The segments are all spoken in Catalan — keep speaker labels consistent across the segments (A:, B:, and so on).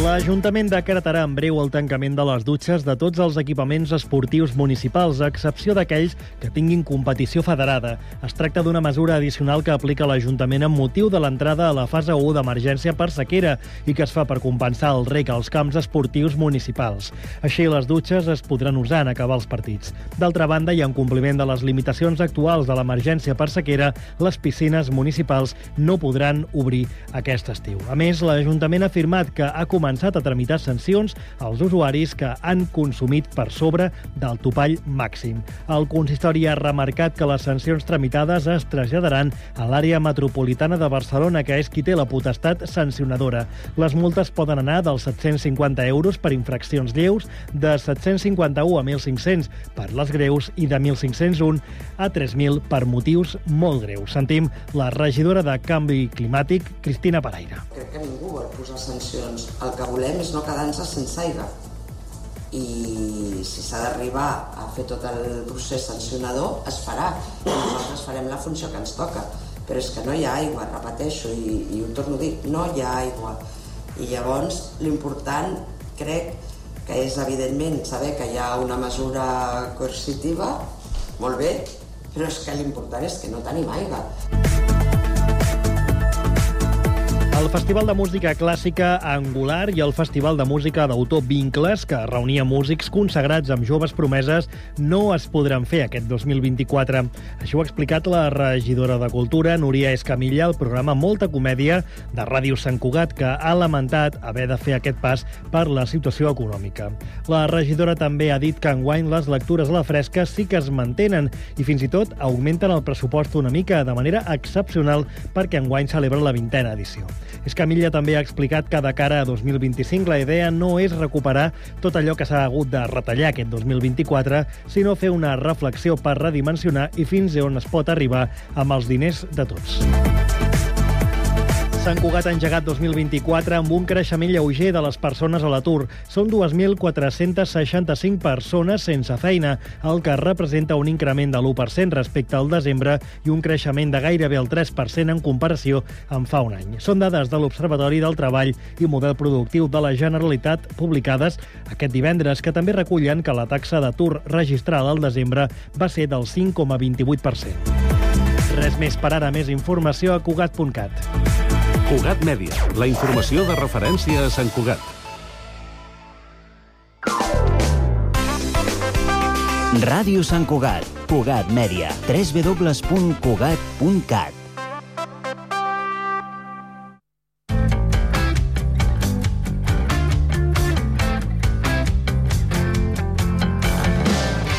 A: L'Ajuntament decretarà en breu el tancament de les dutxes de tots els equipaments esportius municipals, a excepció d'aquells que tinguin competició federada. Es tracta d'una mesura addicional que aplica l'Ajuntament amb motiu de l'entrada a la fase 1 d'emergència per sequera i que es fa per compensar el rec als camps esportius municipals. Així, les dutxes es podran usar en acabar els partits. D'altra banda, i en compliment de les limitacions actuals de l'emergència per sequera, les piscines municipals no podran obrir aquest estiu. A més, l'Ajuntament ha afirmat que ha començat començat a tramitar sancions als usuaris que han consumit per sobre del topall màxim. El consistori ha remarcat que les sancions tramitades es traslladaran a l'àrea metropolitana de Barcelona, que és qui té la potestat sancionadora. Les multes poden anar dels 750 euros per infraccions lleus, de 751 a 1.500 per les greus i de 1.501 a 3.000 per motius molt greus. Sentim la regidora de Canvi Climàtic, Cristina Paraire.
B: Crec que ningú vol posar sancions al que volem és no quedar-nos sense aigua. I si s'ha d'arribar a fer tot el procés sancionador, es farà. Nosaltres farem la funció que ens toca. Però és que no hi ha aigua, repeteixo, i, i ho torno a dir, no hi ha aigua. I llavors, l'important, crec, que és evidentment saber que hi ha una mesura coercitiva, molt bé, però és que l'important és que no tenim aigua.
A: El Festival de Música Clàssica Angular i el Festival de Música d'autor Vincles, que reunia músics consagrats amb joves promeses, no es podran fer aquest 2024. Això ho ha explicat la regidora de Cultura, Núria Escamilla, al programa Molta Comèdia de Ràdio Sant Cugat, que ha lamentat haver de fer aquest pas per la situació econòmica. La regidora també ha dit que enguany les lectures a la fresca sí que es mantenen i fins i tot augmenten el pressupost una mica de manera excepcional perquè enguany celebra la vintena edició. Escamilla també ha explicat que de cara a 2025 la idea no és recuperar tot allò que s'ha hagut de retallar aquest 2024, sinó fer una reflexió per redimensionar i fins on es pot arribar amb els diners de tots. Sant Cugat ha engegat 2024 amb un creixement lleuger de les persones a l'atur. Són 2.465 persones sense feina, el que representa un increment de l'1% respecte al desembre i un creixement de gairebé el 3% en comparació amb fa un any. Són dades de l'Observatori del Treball i Model Productiu de la Generalitat publicades aquest divendres, que també recullen que la taxa d'atur registrada al desembre va ser del 5,28%. Res més per ara, més informació a cugat.cat.
C: Cugat Mèdia, la informació de referència a Sant Cugat.
D: Ràdio Sant Cugat, Cugat Mèdia, www.cugat.cat.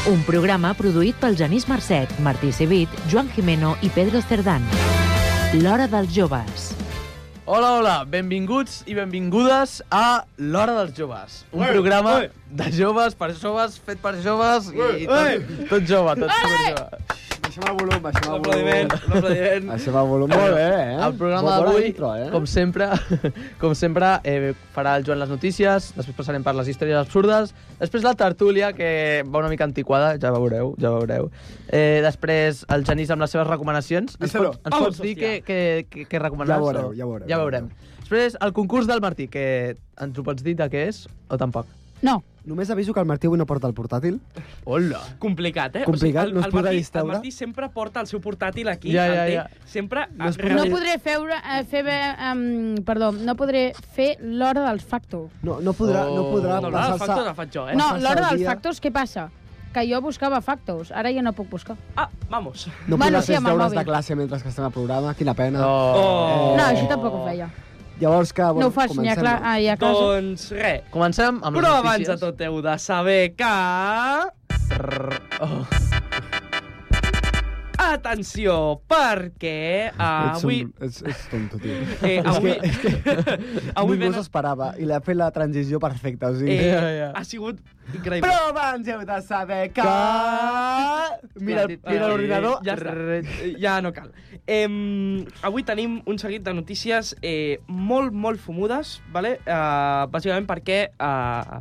E: Un programa produït pel Genís Marcet, Martí Civit, Joan Jimeno i Pedro Cerdán. L'Hora dels Joves.
F: Hola, hola, benvinguts i benvingudes a l'Hora dels Joves. Un
G: Ué,
F: programa
G: ué.
F: de joves, per joves, fet per joves i tot, tot jove, tot superjove.
G: Baixem el volum, baixem el
F: Un
G: volum.
F: aplaudiment, un aplaudiment.
G: Baixem el volum molt bé, eh?
F: El programa
G: Molt bona
F: d'avui,
G: intro, eh?
F: com sempre, com sempre eh, farà el Joan les notícies, després passarem per les històries absurdes, després la tertúlia, que va una mica antiquada, ja veureu, ja veureu. Eh, després el Genís amb les seves recomanacions. Ens
G: Díselo.
F: pot, ens
G: Vamos,
F: pots dir què,
G: hòstia.
F: què, què, què recomanar?
G: Ja veureu,
F: o-
G: ja veureu,
F: Ja
G: ja
F: veurem. Després, el concurs del Martí, que ens ho pots dir de què és o tampoc?
H: No,
G: Només aviso que el Martí avui no porta el portàtil.
F: Hola!
I: Complicat, eh?
G: Complicat, no es podrà
I: Martí,
G: distaure.
I: El Martí sempre porta el seu portàtil aquí,
F: Ja,
I: el
F: ja,
I: té.
F: ja.
I: Sempre...
G: No es
H: no podré feure, eh, fer... Um, perdó, no podré fer l'hora del facto.
G: No, no podrà, no
F: Oh.
G: podrà
I: No, l'hora del factor la
G: passar-se...
I: faig jo, eh?
G: Bueno,
H: No,
G: passa el
H: l'hora dels
G: dia.
H: factos, què passa? Que jo buscava factos, ara ja no puc buscar.
I: Ah, vamos.
G: No
H: Bueno,
G: podrà
H: sí,
G: fer els
H: amb el
G: deures de
H: mòbil.
G: classe mentre que estem al programa, quina pena.
I: Oh. Ah,
H: No, això tampoc ho feia.
G: Llavors que,
H: No
G: bueno,
H: ho faig ni a,
G: comencem.
H: cla ah, i a classe.
I: Doncs res.
F: Comencem amb
I: Però
F: les
I: abans de
F: notícies.
I: tot heu de saber que...
F: Oh.
I: Atenció, perquè
G: Ets,
I: avui...
G: un, ets, ets tonto, tio.
I: Eh, avui...
G: És que, Ningú
I: avui venen...
G: s'esperava i l'ha fet la transició perfecta, o sigui...
I: Eh,
F: Ja, ja.
I: ha sigut increïble.
G: Però abans heu de saber que... Mira,
F: Clar,
G: mira
F: eh,
G: l'ordinador.
I: Ja, està. Eh, ja no cal. Em, avui tenim un seguit de notícies eh, molt, molt fumudes, vale? eh, bàsicament perquè eh,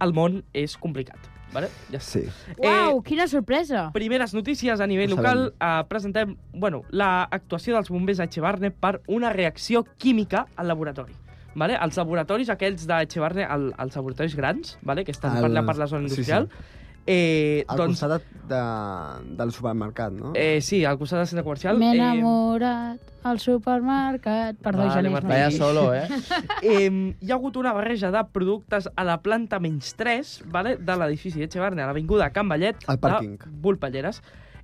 I: el món és complicat. Vale? Ja està. Eh,
G: Sí.
H: Uau, quina sorpresa!
I: Primeres notícies a nivell
G: Ho
I: local. Eh, presentem bueno, l'actuació dels bombers a Echevarne per una reacció química al laboratori. Vale? Els laboratoris aquells d'Echevarne, el, els laboratoris grans, vale? que estan
G: El-
I: el... per, la, per la zona
G: sí, sí.
I: industrial, sí, sí. Eh,
G: Al
I: doncs,
G: costat de, de, del supermercat, no?
I: eh, sí, al costat del centre comercial...
H: M'he
I: eh,
H: enamorat al supermercat. Perdó,
I: Vale,
H: Genís.
I: Marta,
H: no hi
F: Vaya
H: és.
F: solo, eh?
I: Eh, hi ha hagut una barreja de productes a la planta menys 3 vale, de l'edifici d'Echevarne, a l'Avinguda Can Vallet,
G: Al pàrquing.
I: de Volpelleres.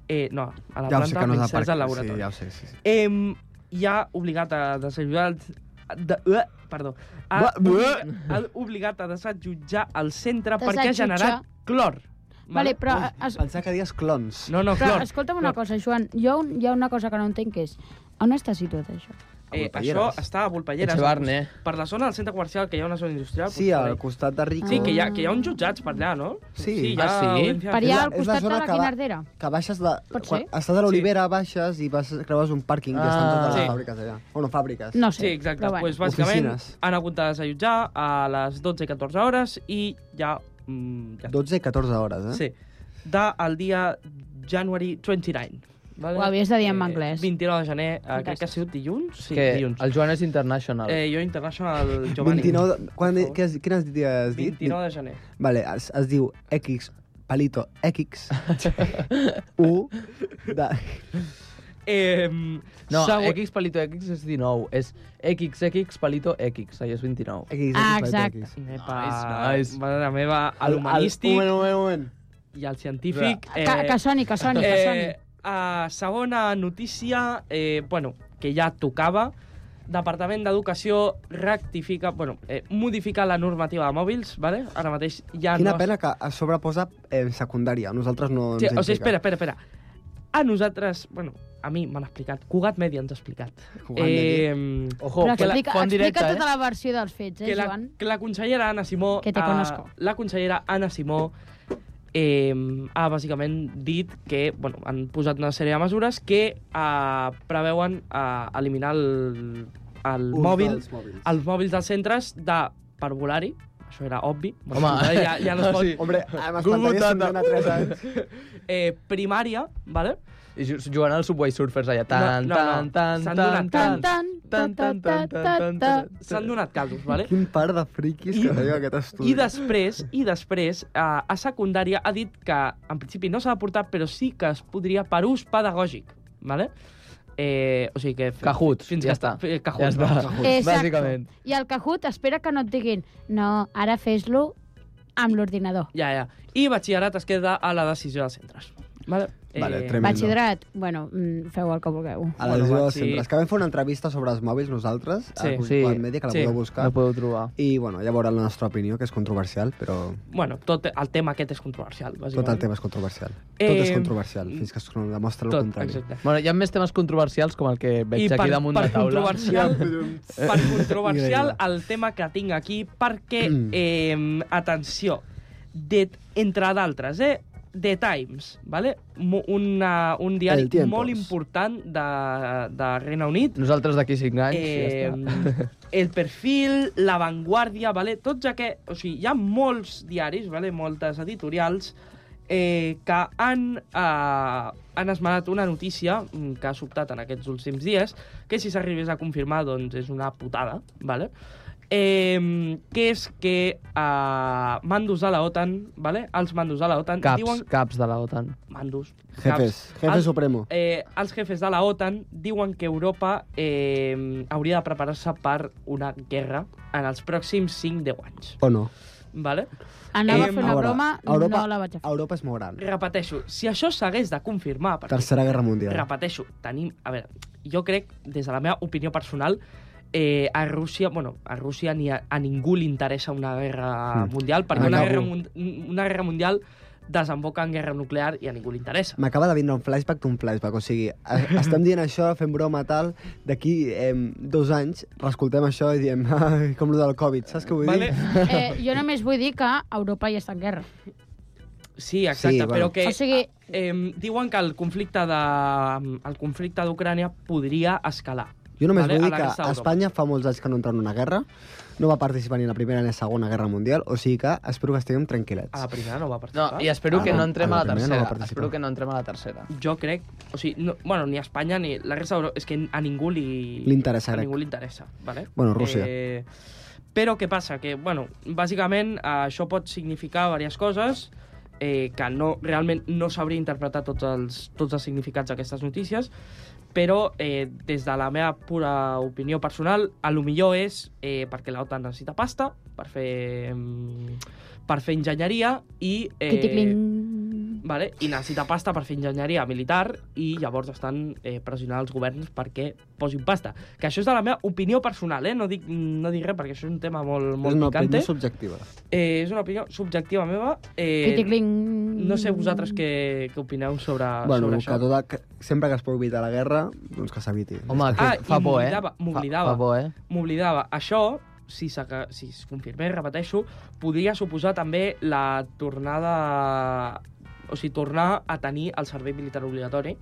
I: Eh, no, a la
G: ja ho sé
I: planta
G: que no és
I: menys
G: el
I: 3
G: parc.
I: del laboratori.
G: Sí, ja ho sé, sí, sí.
I: Eh, hi ha obligat a desallotjar... els- De, uh, perdó. Ha,
G: Ua, buh.
I: obligat, ha obligat a desallotjar el centre perquè ha
H: Desallotjar.
I: generat clor.
H: Vale, però...
I: doncs,
H: Es...
G: Pensava que dies clons.
I: No, no,
H: Però
I: clor.
H: escolta'm una
I: clor.
H: cosa, Joan. Jo un- hi ha una cosa que no entenc, que és... On està situat això?
G: A
I: Eh, això
G: Volpelleres.
I: està a Volpelleres. doncs,
F: Echevarne.
I: Per la zona del centre comercial, que hi ha una zona industrial.
G: Sí,
I: doncs, per
G: al
I: ahí.
G: costat de Rico.
I: Sí, que hi, ha, que hi ha uns jutjats per allà, no?
G: Sí.
I: hi ha
F: Ah, sí?
I: audiència
H: Per
G: És
H: allà
G: la-
H: al
G: és la
H: costat de
G: zona
H: la
G: que va-
H: Guinardera.
G: Que baixes de...
H: Pot
G: quan
H: ser?
G: estàs de l'Olivera, baixes i vas, creues un pàrquing i estan
F: Ah.
G: totes les
I: Sí.
G: fàbriques allà. O no, fàbriques.
H: No sé,
I: Sí, exacte.
H: però
I: Doncs
H: bueno.
I: pues, bàsicament
G: Oficines.
I: han hagut de desallotjar a les 12 i 14 hores i ja... Mm, ja
G: 12 i 14 hores, eh?
I: Sí. De al dia January 29. Vale?
H: Ho havies de dir en anglès.
I: 29 de gener, eh, crec que ha
H: Gràcies.
I: sigut dilluns. Sí,
F: que
I: dilluns.
F: el Joan és international.
I: Eh, jo International Giovanni.
G: 29... De... Quan,
I: Per favor.
G: què has, quin has dit? Has dit?
I: 29 de gener.
G: Vale, es, es diu X, palito X, U, de...
I: Eh,
F: No,
I: segon-
F: X palito X és 19. És XXX palito X. Ahí és 29.
G: X,
H: Ah,
G: X,
H: exacte.
G: palito X.
I: Epa,
F: Nice, nice.
I: Mare meva,
G: El-
I: el
G: el-
I: humanístic
G: Un moment, un moment, un moment.
I: i el científic...
H: Que, que soni, que soni, que soni.
I: Eh, a segona notícia, eh, bueno, que ja tocava, Departament d'Educació rectifica, bueno, eh, modifica la normativa de mòbils, vale? Ara mateix ja
G: Quina
I: Ah, no...
G: pena doncs, que a sobre posa eh, secundària. A Nosaltres no ens
I: Sí, o
G: implica.
I: sigui, espera, espera, espera. A nosaltres, bueno, a mi m'han explicat, Cugat Media ens ha explicat.
G: Cugat Media.
I: Eh,
F: Ojo,
H: Però
F: que la,
H: explica,
F: font directa,
H: explica
F: eh?
H: tota la versió dels fets, eh,
I: que la,
H: Joan?
I: que la consellera Anna Simó...
H: Que te
I: eh,
H: conozco.
I: la consellera Anna Simó eh, ha bàsicament dit que bueno, han posat una sèrie de mesures que eh, preveuen eh, eliminar el, el
G: Un
I: mòbil,
G: dels mòbils.
I: els mòbils dels centres de parvulari, això era obvi, bueno,
F: Home.
I: parvulari ja, ja no es pot,
F: Sí.
G: Hombre, m'espantaria si
F: Google
G: em dona 3 anys.
I: eh, primària, vale?
F: I ju- jugant als Subway Surfers allà. Tan,
I: No, no, no.
F: tan, tan,
I: S'han
F: tan,
I: donat
F: tan,
H: Tan,
F: tan,
H: tan,
F: tan, tan, tan, tan, tan.
I: s'han donat casos, vale?
G: Quin par de friquis que
I: I-
G: teniu aquest estudi.
I: I després, i després eh, a secundària ha dit que en principi no s'ha de portar, però sí que es podria per ús pedagògic, vale? Eh, o sigui que...
F: Cajuts, ja
I: que-
F: està.
I: eh,
F: Ja
I: Cajuts,
F: està.
I: no?
H: Exacto.
F: Bàsicament.
H: I el Kahoot espera que no et diguin no, ara fes-lo amb l'ordinador.
I: Ja, ja. I batxillerat es queda a la decisió dels centres. Vale, Eh,
G: Vale, tremendo.
H: Batxillerat, bueno, mm, feu el que vulgueu.
G: A la
I: Bueno,
G: decisió
I: va,
G: dels
I: sí.
G: centres. Que vam fer una entrevista sobre els mòbils nosaltres,
I: Sí.
G: a
F: Sí.
G: Cultura Media, que la
I: Sí.
G: podeu
F: La
G: buscar.
F: podeu trobar.
G: I, bueno, ja veurà la nostra opinió, que és controversial, però
I: Bueno, tot el tema aquest és controversial, bàsicament.
G: tot el tema és controversial. Tot és
I: Eh,
G: controversial, fins que es demostra el
I: Tot,
G: contrari.
I: exacte.
F: Bueno, hi ha més temes controversials com el que veig
I: I per,
F: aquí damunt
I: per
F: de taula.
I: controversial, per controversial
G: Increïble.
I: el tema que tinc aquí, perquè,
G: Mm.
I: eh, atenció, de, entre d'altres, eh, The Times, vale? Mo- una, un diari
G: El Tiempos.
I: molt important de, de Regne Unit,
F: Nosaltres d'aquí 5 anys,
I: eh,
F: ja està.
I: El Perfil, La Vanguardia, vale? tots aquests... O sigui, hi ha molts diaris, vale? moltes editorials, eh, que han, eh, han esmenat una notícia mm, que ha sobtat en aquests últims dies, que si s'arribés a confirmar, doncs és una putada, vale? Eh, que és que eh, mandos de la OTAN, vale? els mandos de la OTAN
F: Caps,
I: diuen...
F: caps de la OTAN.
I: Mandos,
G: Jefes, jefe
I: El-
G: supremo.
I: eh, els jefes de la OTAN diuen que Europa eh, hauria de preparar-se per una guerra en els pròxims 5-10 anys.
G: O no?
I: Vale?
H: Anava
I: Eh,
H: a fer una
G: Ara,
H: broma,
G: Europa,
H: no la vaig a fer.
G: Europa és molt gran.
I: Repeteixo, si això s'hagués de confirmar... Perquè,
G: Tercera Guerra Mundial.
I: repeteixo, tenim... A veure, jo crec, des de la meva opinió personal, eh, a Rússia, bueno, a Rússia ni a, a ningú li interessa una guerra
G: Mm.
I: mundial, perquè una
G: Acabo.
I: guerra, mun- una guerra mundial desemboca en guerra nuclear i a ningú li interessa.
G: M'acaba de vindre un flashback d'un flashback, o sigui, e- estem dient això, fem broma tal, d'aquí eh, dos anys reescoltem això i diem, ai, com lo del Covid, saps què vull
I: Vale?
G: dir?
H: Eh, jo només vull dir que Europa ja està en guerra.
I: Sí, exacte,
G: Sí,
I: sí,
G: bueno.
I: però que... ah,
H: O sigui-
I: Eh, diuen que el conflicte de el conflicte d'Ucrània podria escalar,
G: Jo només
I: Vale,
G: vale, vull
I: a la
G: dir que
I: resta
G: a
I: d'Europa.
G: Espanya fa molts anys que no entra en una guerra, no va participar ni en la Primera ni en la Segona Guerra Mundial, o sigui que espero que estiguem tranquil·lets.
I: A la primera no va
F: No,
I: participar.
F: i espero
G: Ah,
F: que
G: no,
F: no entrem
G: a la
F: a la
G: primera no va
F: tercera.
G: participar.
F: espero que no entrem a la tercera.
I: Jo crec... O sigui, no, bueno, ni a Espanya ni la resta d'Europa... És que a ningú li...
G: Li interessa,
I: a
G: crec.
I: ningú li interessa, vale?
G: Bueno, Rússia.
I: Eh, però què passa? Que, bueno, bàsicament eh, això pot significar diverses coses eh, que no, realment no sabria interpretar tots els, tots els significats d'aquestes notícies, però eh, des de la meva pura opinió personal, a lo millor és eh, perquè l'OTAN necessita pasta per fer, mm, per fer enginyeria i... Eh,
H: Quiticlin.
I: Vale? I necessita pasta per fer enginyeria militar i llavors estan eh, pressionant els governs perquè posin pasta. Que això és de la meva opinió personal, eh? No dic, no dic res perquè això és un tema molt,
G: És
I: molt
G: una
I: picante.
G: opinió subjectiva.
I: Eh, és una opinió subjectiva meva. Eh,
H: Quiticlin.
I: no sé vosaltres què, què opineu sobre,
G: bueno,
I: Ah, sobre
G: que
I: això.
G: tot, el- que, sempre que es pugui evitar la guerra, doncs que s'eviti.
F: Home, que
I: Ah, i
F: fa por, eh?
I: m'oblidava-
F: Fa-
I: m'oblidava.
F: Fa por, eh?
I: M'oblidava. Això, si, s'aca- si es confirmés, repeteixo, podria suposar també la tornada... O sigui, tornar a tenir el servei militar obligatori.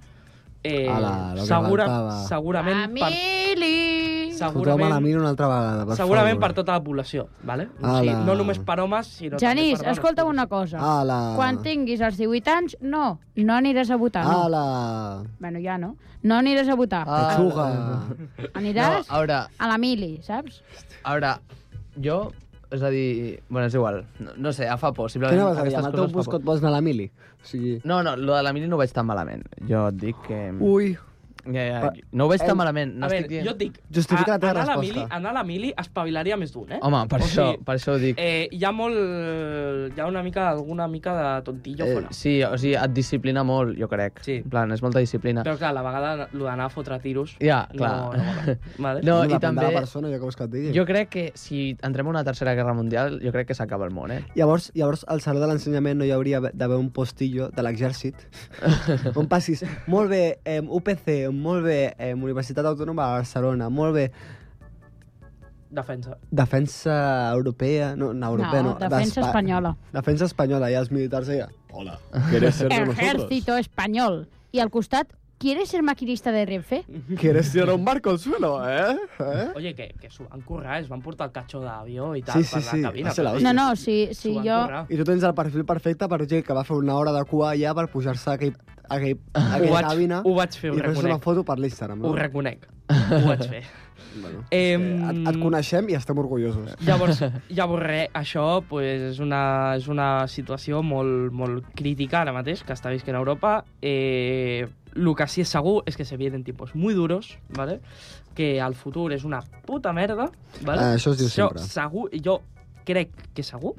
I: Eh,
G: Ala, lo que faltava.
I: segurament per,
H: Family.
G: Foteu
I: segurament,
G: malament mira una altra vegada, per
I: segurament per
G: favor.
I: tota la població, ¿vale? O
G: Ala.
I: sigui, no només per homes, sinó
H: Genís,
I: també per dones.
H: escolta una cosa.
G: Ala.
H: Quan tinguis els 18 anys, no, no aniràs a votar. No.
G: Ala.
H: Bueno, ja no. No aniràs a votar.
F: Ah.
G: Xuga.
F: No,
H: Aniràs
F: ara,
H: a la mili, saps?
F: ara, jo... És a dir... Bueno, és igual. No, no sé, em fa por.
G: Què
F: Simplement
G: anaves a dir?
F: aquestes
G: Amb el teu
F: coses fa
G: buscot
F: por.
G: vols anar a la mili? O sigui...
F: No, no, lo de la mili no ho veig tan malament. Jo et dic que...
G: Ui,
F: Ja, ja,
G: Pa-
F: no ho veig
G: Eh,
F: tan malament. No
I: A
F: estic
I: veure,
F: dient...
I: jo et dic...
G: Justifica la teva
I: anar A la
G: resposta.
I: mili, anar a la mili espavilaria més d'un, eh?
F: Home, per,
I: O
F: això,
I: sigui,
F: per això ho dic.
I: Eh, hi ha molt... Hi ha una mica, alguna mica de
G: Eh,
I: tontillo fora.
F: Eh, sí, o sigui, et disciplina molt, jo crec.
I: Sí.
F: En plan, és molta disciplina.
I: Però clar, a la vegada lo d'anar a fotre tiros...
F: Ja,
I: no-
F: clar.
I: No, mola. vale?
F: No,
G: depèn
F: i també...
G: de la persona, jo que vols que et digui.
F: Jo crec que si entrem a una tercera guerra mundial, jo crec que s'acaba el món, eh?
G: Llavors, llavors al Saló de l'Ensenyament no hi hauria d'haver un postillo de l'exèrcit on passis, molt bé, eh, UPC, molt bé, eh, Universitat Autònoma de Barcelona, molt bé,
I: Defensa.
G: defensa europea, no, no europea, no,
H: no, defensa
G: d'Espa-
H: espanyola.
G: Defensa espanyola, i els militars allà. Hola, ¿quieres ser de nosotros?
H: Ejército espanyol. I al costat, ¿quieres ser maquinista de Renfe?
G: ¿Quieres tirar un barco al suelo, eh? eh?
I: Oye, que, que s'ho van currar, eh? es van portar el catxo d'avió i tal
G: Sí, sí,
I: per la
G: sí,
I: cabina.
G: va ser la
I: però
G: hòstia.
H: No, no, si,
I: s'ho
H: si
I: van
H: jo...
I: currar.
G: I tu tens el perfil perfecte per gent que va fer una hora de cua allà per pujar-se a aquell, a aquell, a
I: Ho
G: aquella
I: vaig,
G: cabina
I: ho vaig fer,
G: i
I: ho
G: fer una
I: reconec.
G: foto per l'Instagram.
I: Ho
G: No?
I: reconec. Ho vaig fer.
G: Bueno,
I: Eh,
G: et, et coneixem i estem orgullosos.
I: Llavors, llavors res, això pues, és, una, és una situació molt, molt crítica ara mateix, que està visquent a Europa. Eh, lo que sí és segur és que se vienen tiempos muy duros, ¿vale? que el futur és una puta merda. ¿vale?
G: Ah, això es diu sempre.
I: Segur, jo crec que segur.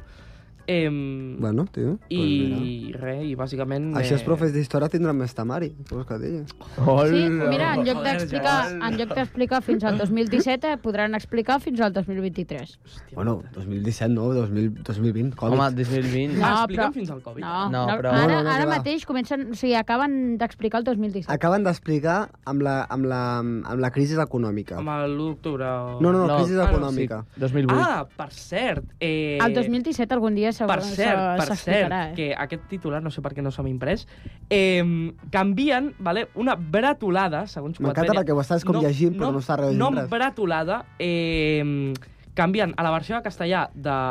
I: Eh, bueno,
G: Bueno, tio. doncs
I: I pues res, i bàsicament... eh,
G: Així els profes d'història tindran més temari. Què vols que et digui?
F: Hola.
H: Sí, mira, en lloc
I: Joder,
H: d'explicar
I: Joan.
H: en lloc d'explicar fins al 2017, eh, podran explicar fins al 2023.
G: Bueno, 2017 no, 2000, 2020, Covid.
F: Home, 2020...
H: No,
I: Ah, explica'm
H: però-
I: fins al Covid.
H: No,
F: No,
H: no,
F: però-
H: ara,
G: No, no, no,
H: ara
G: va.
H: mateix comencen, o sigui, acaben d'explicar el 2017.
G: Acaben d'explicar amb, la, amb, la, amb la crisi econòmica.
I: Amb l'1 d'octubre... O...
G: No, no, no,
F: No.
G: crisi
I: Ah, no,
G: econòmica.
F: Sí, 2008.
I: Ah, per cert... Eh...
H: El 2017 algun dia se-
I: Per
H: se-
I: cert, per cert,
H: s'explicarà, eh?
I: que aquest titular, no sé per què no s'ha imprès, eh, canvien, vale, una bretolada, segons
G: M'encanta perquè ho estàs com llegint, però no està rellegint
I: no
G: res.
I: bretolada, eh, canvien a la versió de castellà de,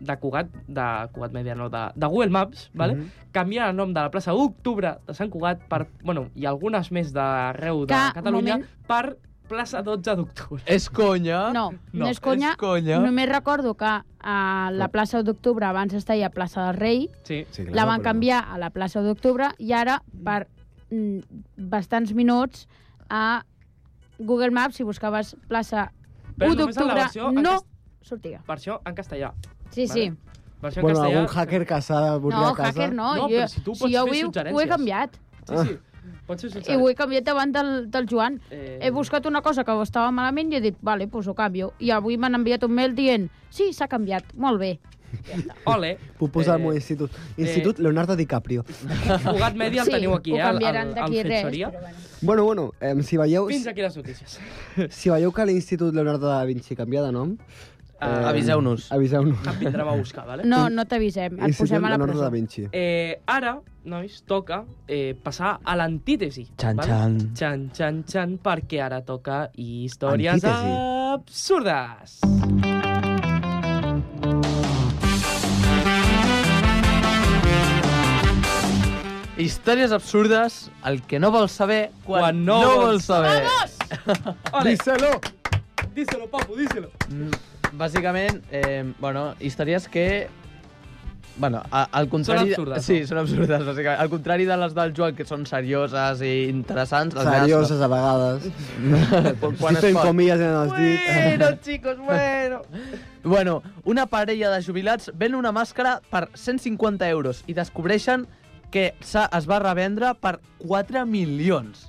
I: de Cugat, de Cugat Media, no, de, de Google Maps, vale?
G: Mhm.
I: canvien el nom de la plaça d'Octubre de Sant Cugat per, bueno, i algunes més d'arreu de
H: Que,
I: Catalunya
H: moment.
I: per plaça 12 d'octubre.
F: És conya?
H: No, no, és conya.
F: És conya.
H: Només recordo que a la plaça d'octubre abans es deia plaça del Rei,
I: Sí.
G: Sí,
H: la van canviar a la plaça d'octubre i ara, per mm, bastants minuts, a Google Maps, si buscaves plaça
I: Però
H: 1
I: només a la
H: d'octubre,
I: versió en
H: no
I: cas-
H: sortia.
I: Versió en castellà.
H: Sí,
I: Vale.
H: sí.
I: Versió en
G: Bueno,
I: castellà...
G: algun hacker que s'ha de voler
H: No,
G: a casa.
H: hacker no.
I: No,
H: jo,
I: però si tu
H: si
I: pots
H: jo
I: fer
H: ho, he- ho he
I: suggerències.
H: canviat.
I: Sí, sí. Pot ser
H: I ho he canviat davant del, del Joan.
I: Eh,
H: He buscat una cosa que estava malament i he dit, vale, pues ho canvio. I avui m'han enviat un mail dient, sí, s'ha canviat, molt bé.
I: Ole. eh,
G: Puc posar el meu institut. Institut Leonardo DiCaprio.
I: Cugat Media el
H: sí,
I: teniu aquí,
H: ho
I: eh? al-
H: canviaran
I: al-
H: d'aquí
I: al
H: res.
I: Fetxoria.
H: Però bueno.
G: Bueno, bueno, eh, si veieu...
I: Fins aquí les notícies.
G: Si veieu que l'Institut Leonardo da Vinci canvia de nom,
I: Eh,
F: Ah, Aviseu-nos.
G: Aviseu-nos.
I: Em vindrem a buscar, vale?
H: No, no t'avisem,
G: I
H: et
G: si
H: posem
G: fem
H: a la
G: l'honor de
H: presó.
G: Da Vinci.
I: Eh, ara, nois, toca eh, passar a l'antítesi.
F: Xan,
I: val?
F: xan.
I: Xan, xan, xan, perquè ara toca històries
G: Antítesi.
I: absurdes.
F: Històries absurdes, el que no vols saber quan,
I: Quan no
F: no
I: vols-
F: vols saber.
I: Ole,
G: Díselo!
I: díselo, papu, díselo.
F: Mm, Bàsicament, eh, bueno, històries que... Bueno, a- al contrari...
I: absurdes,
F: Sí,
I: no?
F: són absurdes, bàsicament. Al contrari de les del Joel, que són serioses i interessants... les meves no.
G: Serioses a vegades.
F: Quan- quan
G: Quan
F: es
G: Estic fent
F: pot.
G: comillas en els dits.
I: Bueno, chicos, bueno.
F: Bueno, una parella de jubilats ven una màscara per 150 euros i descobreixen que s'ha- es va revendre per 4 milions.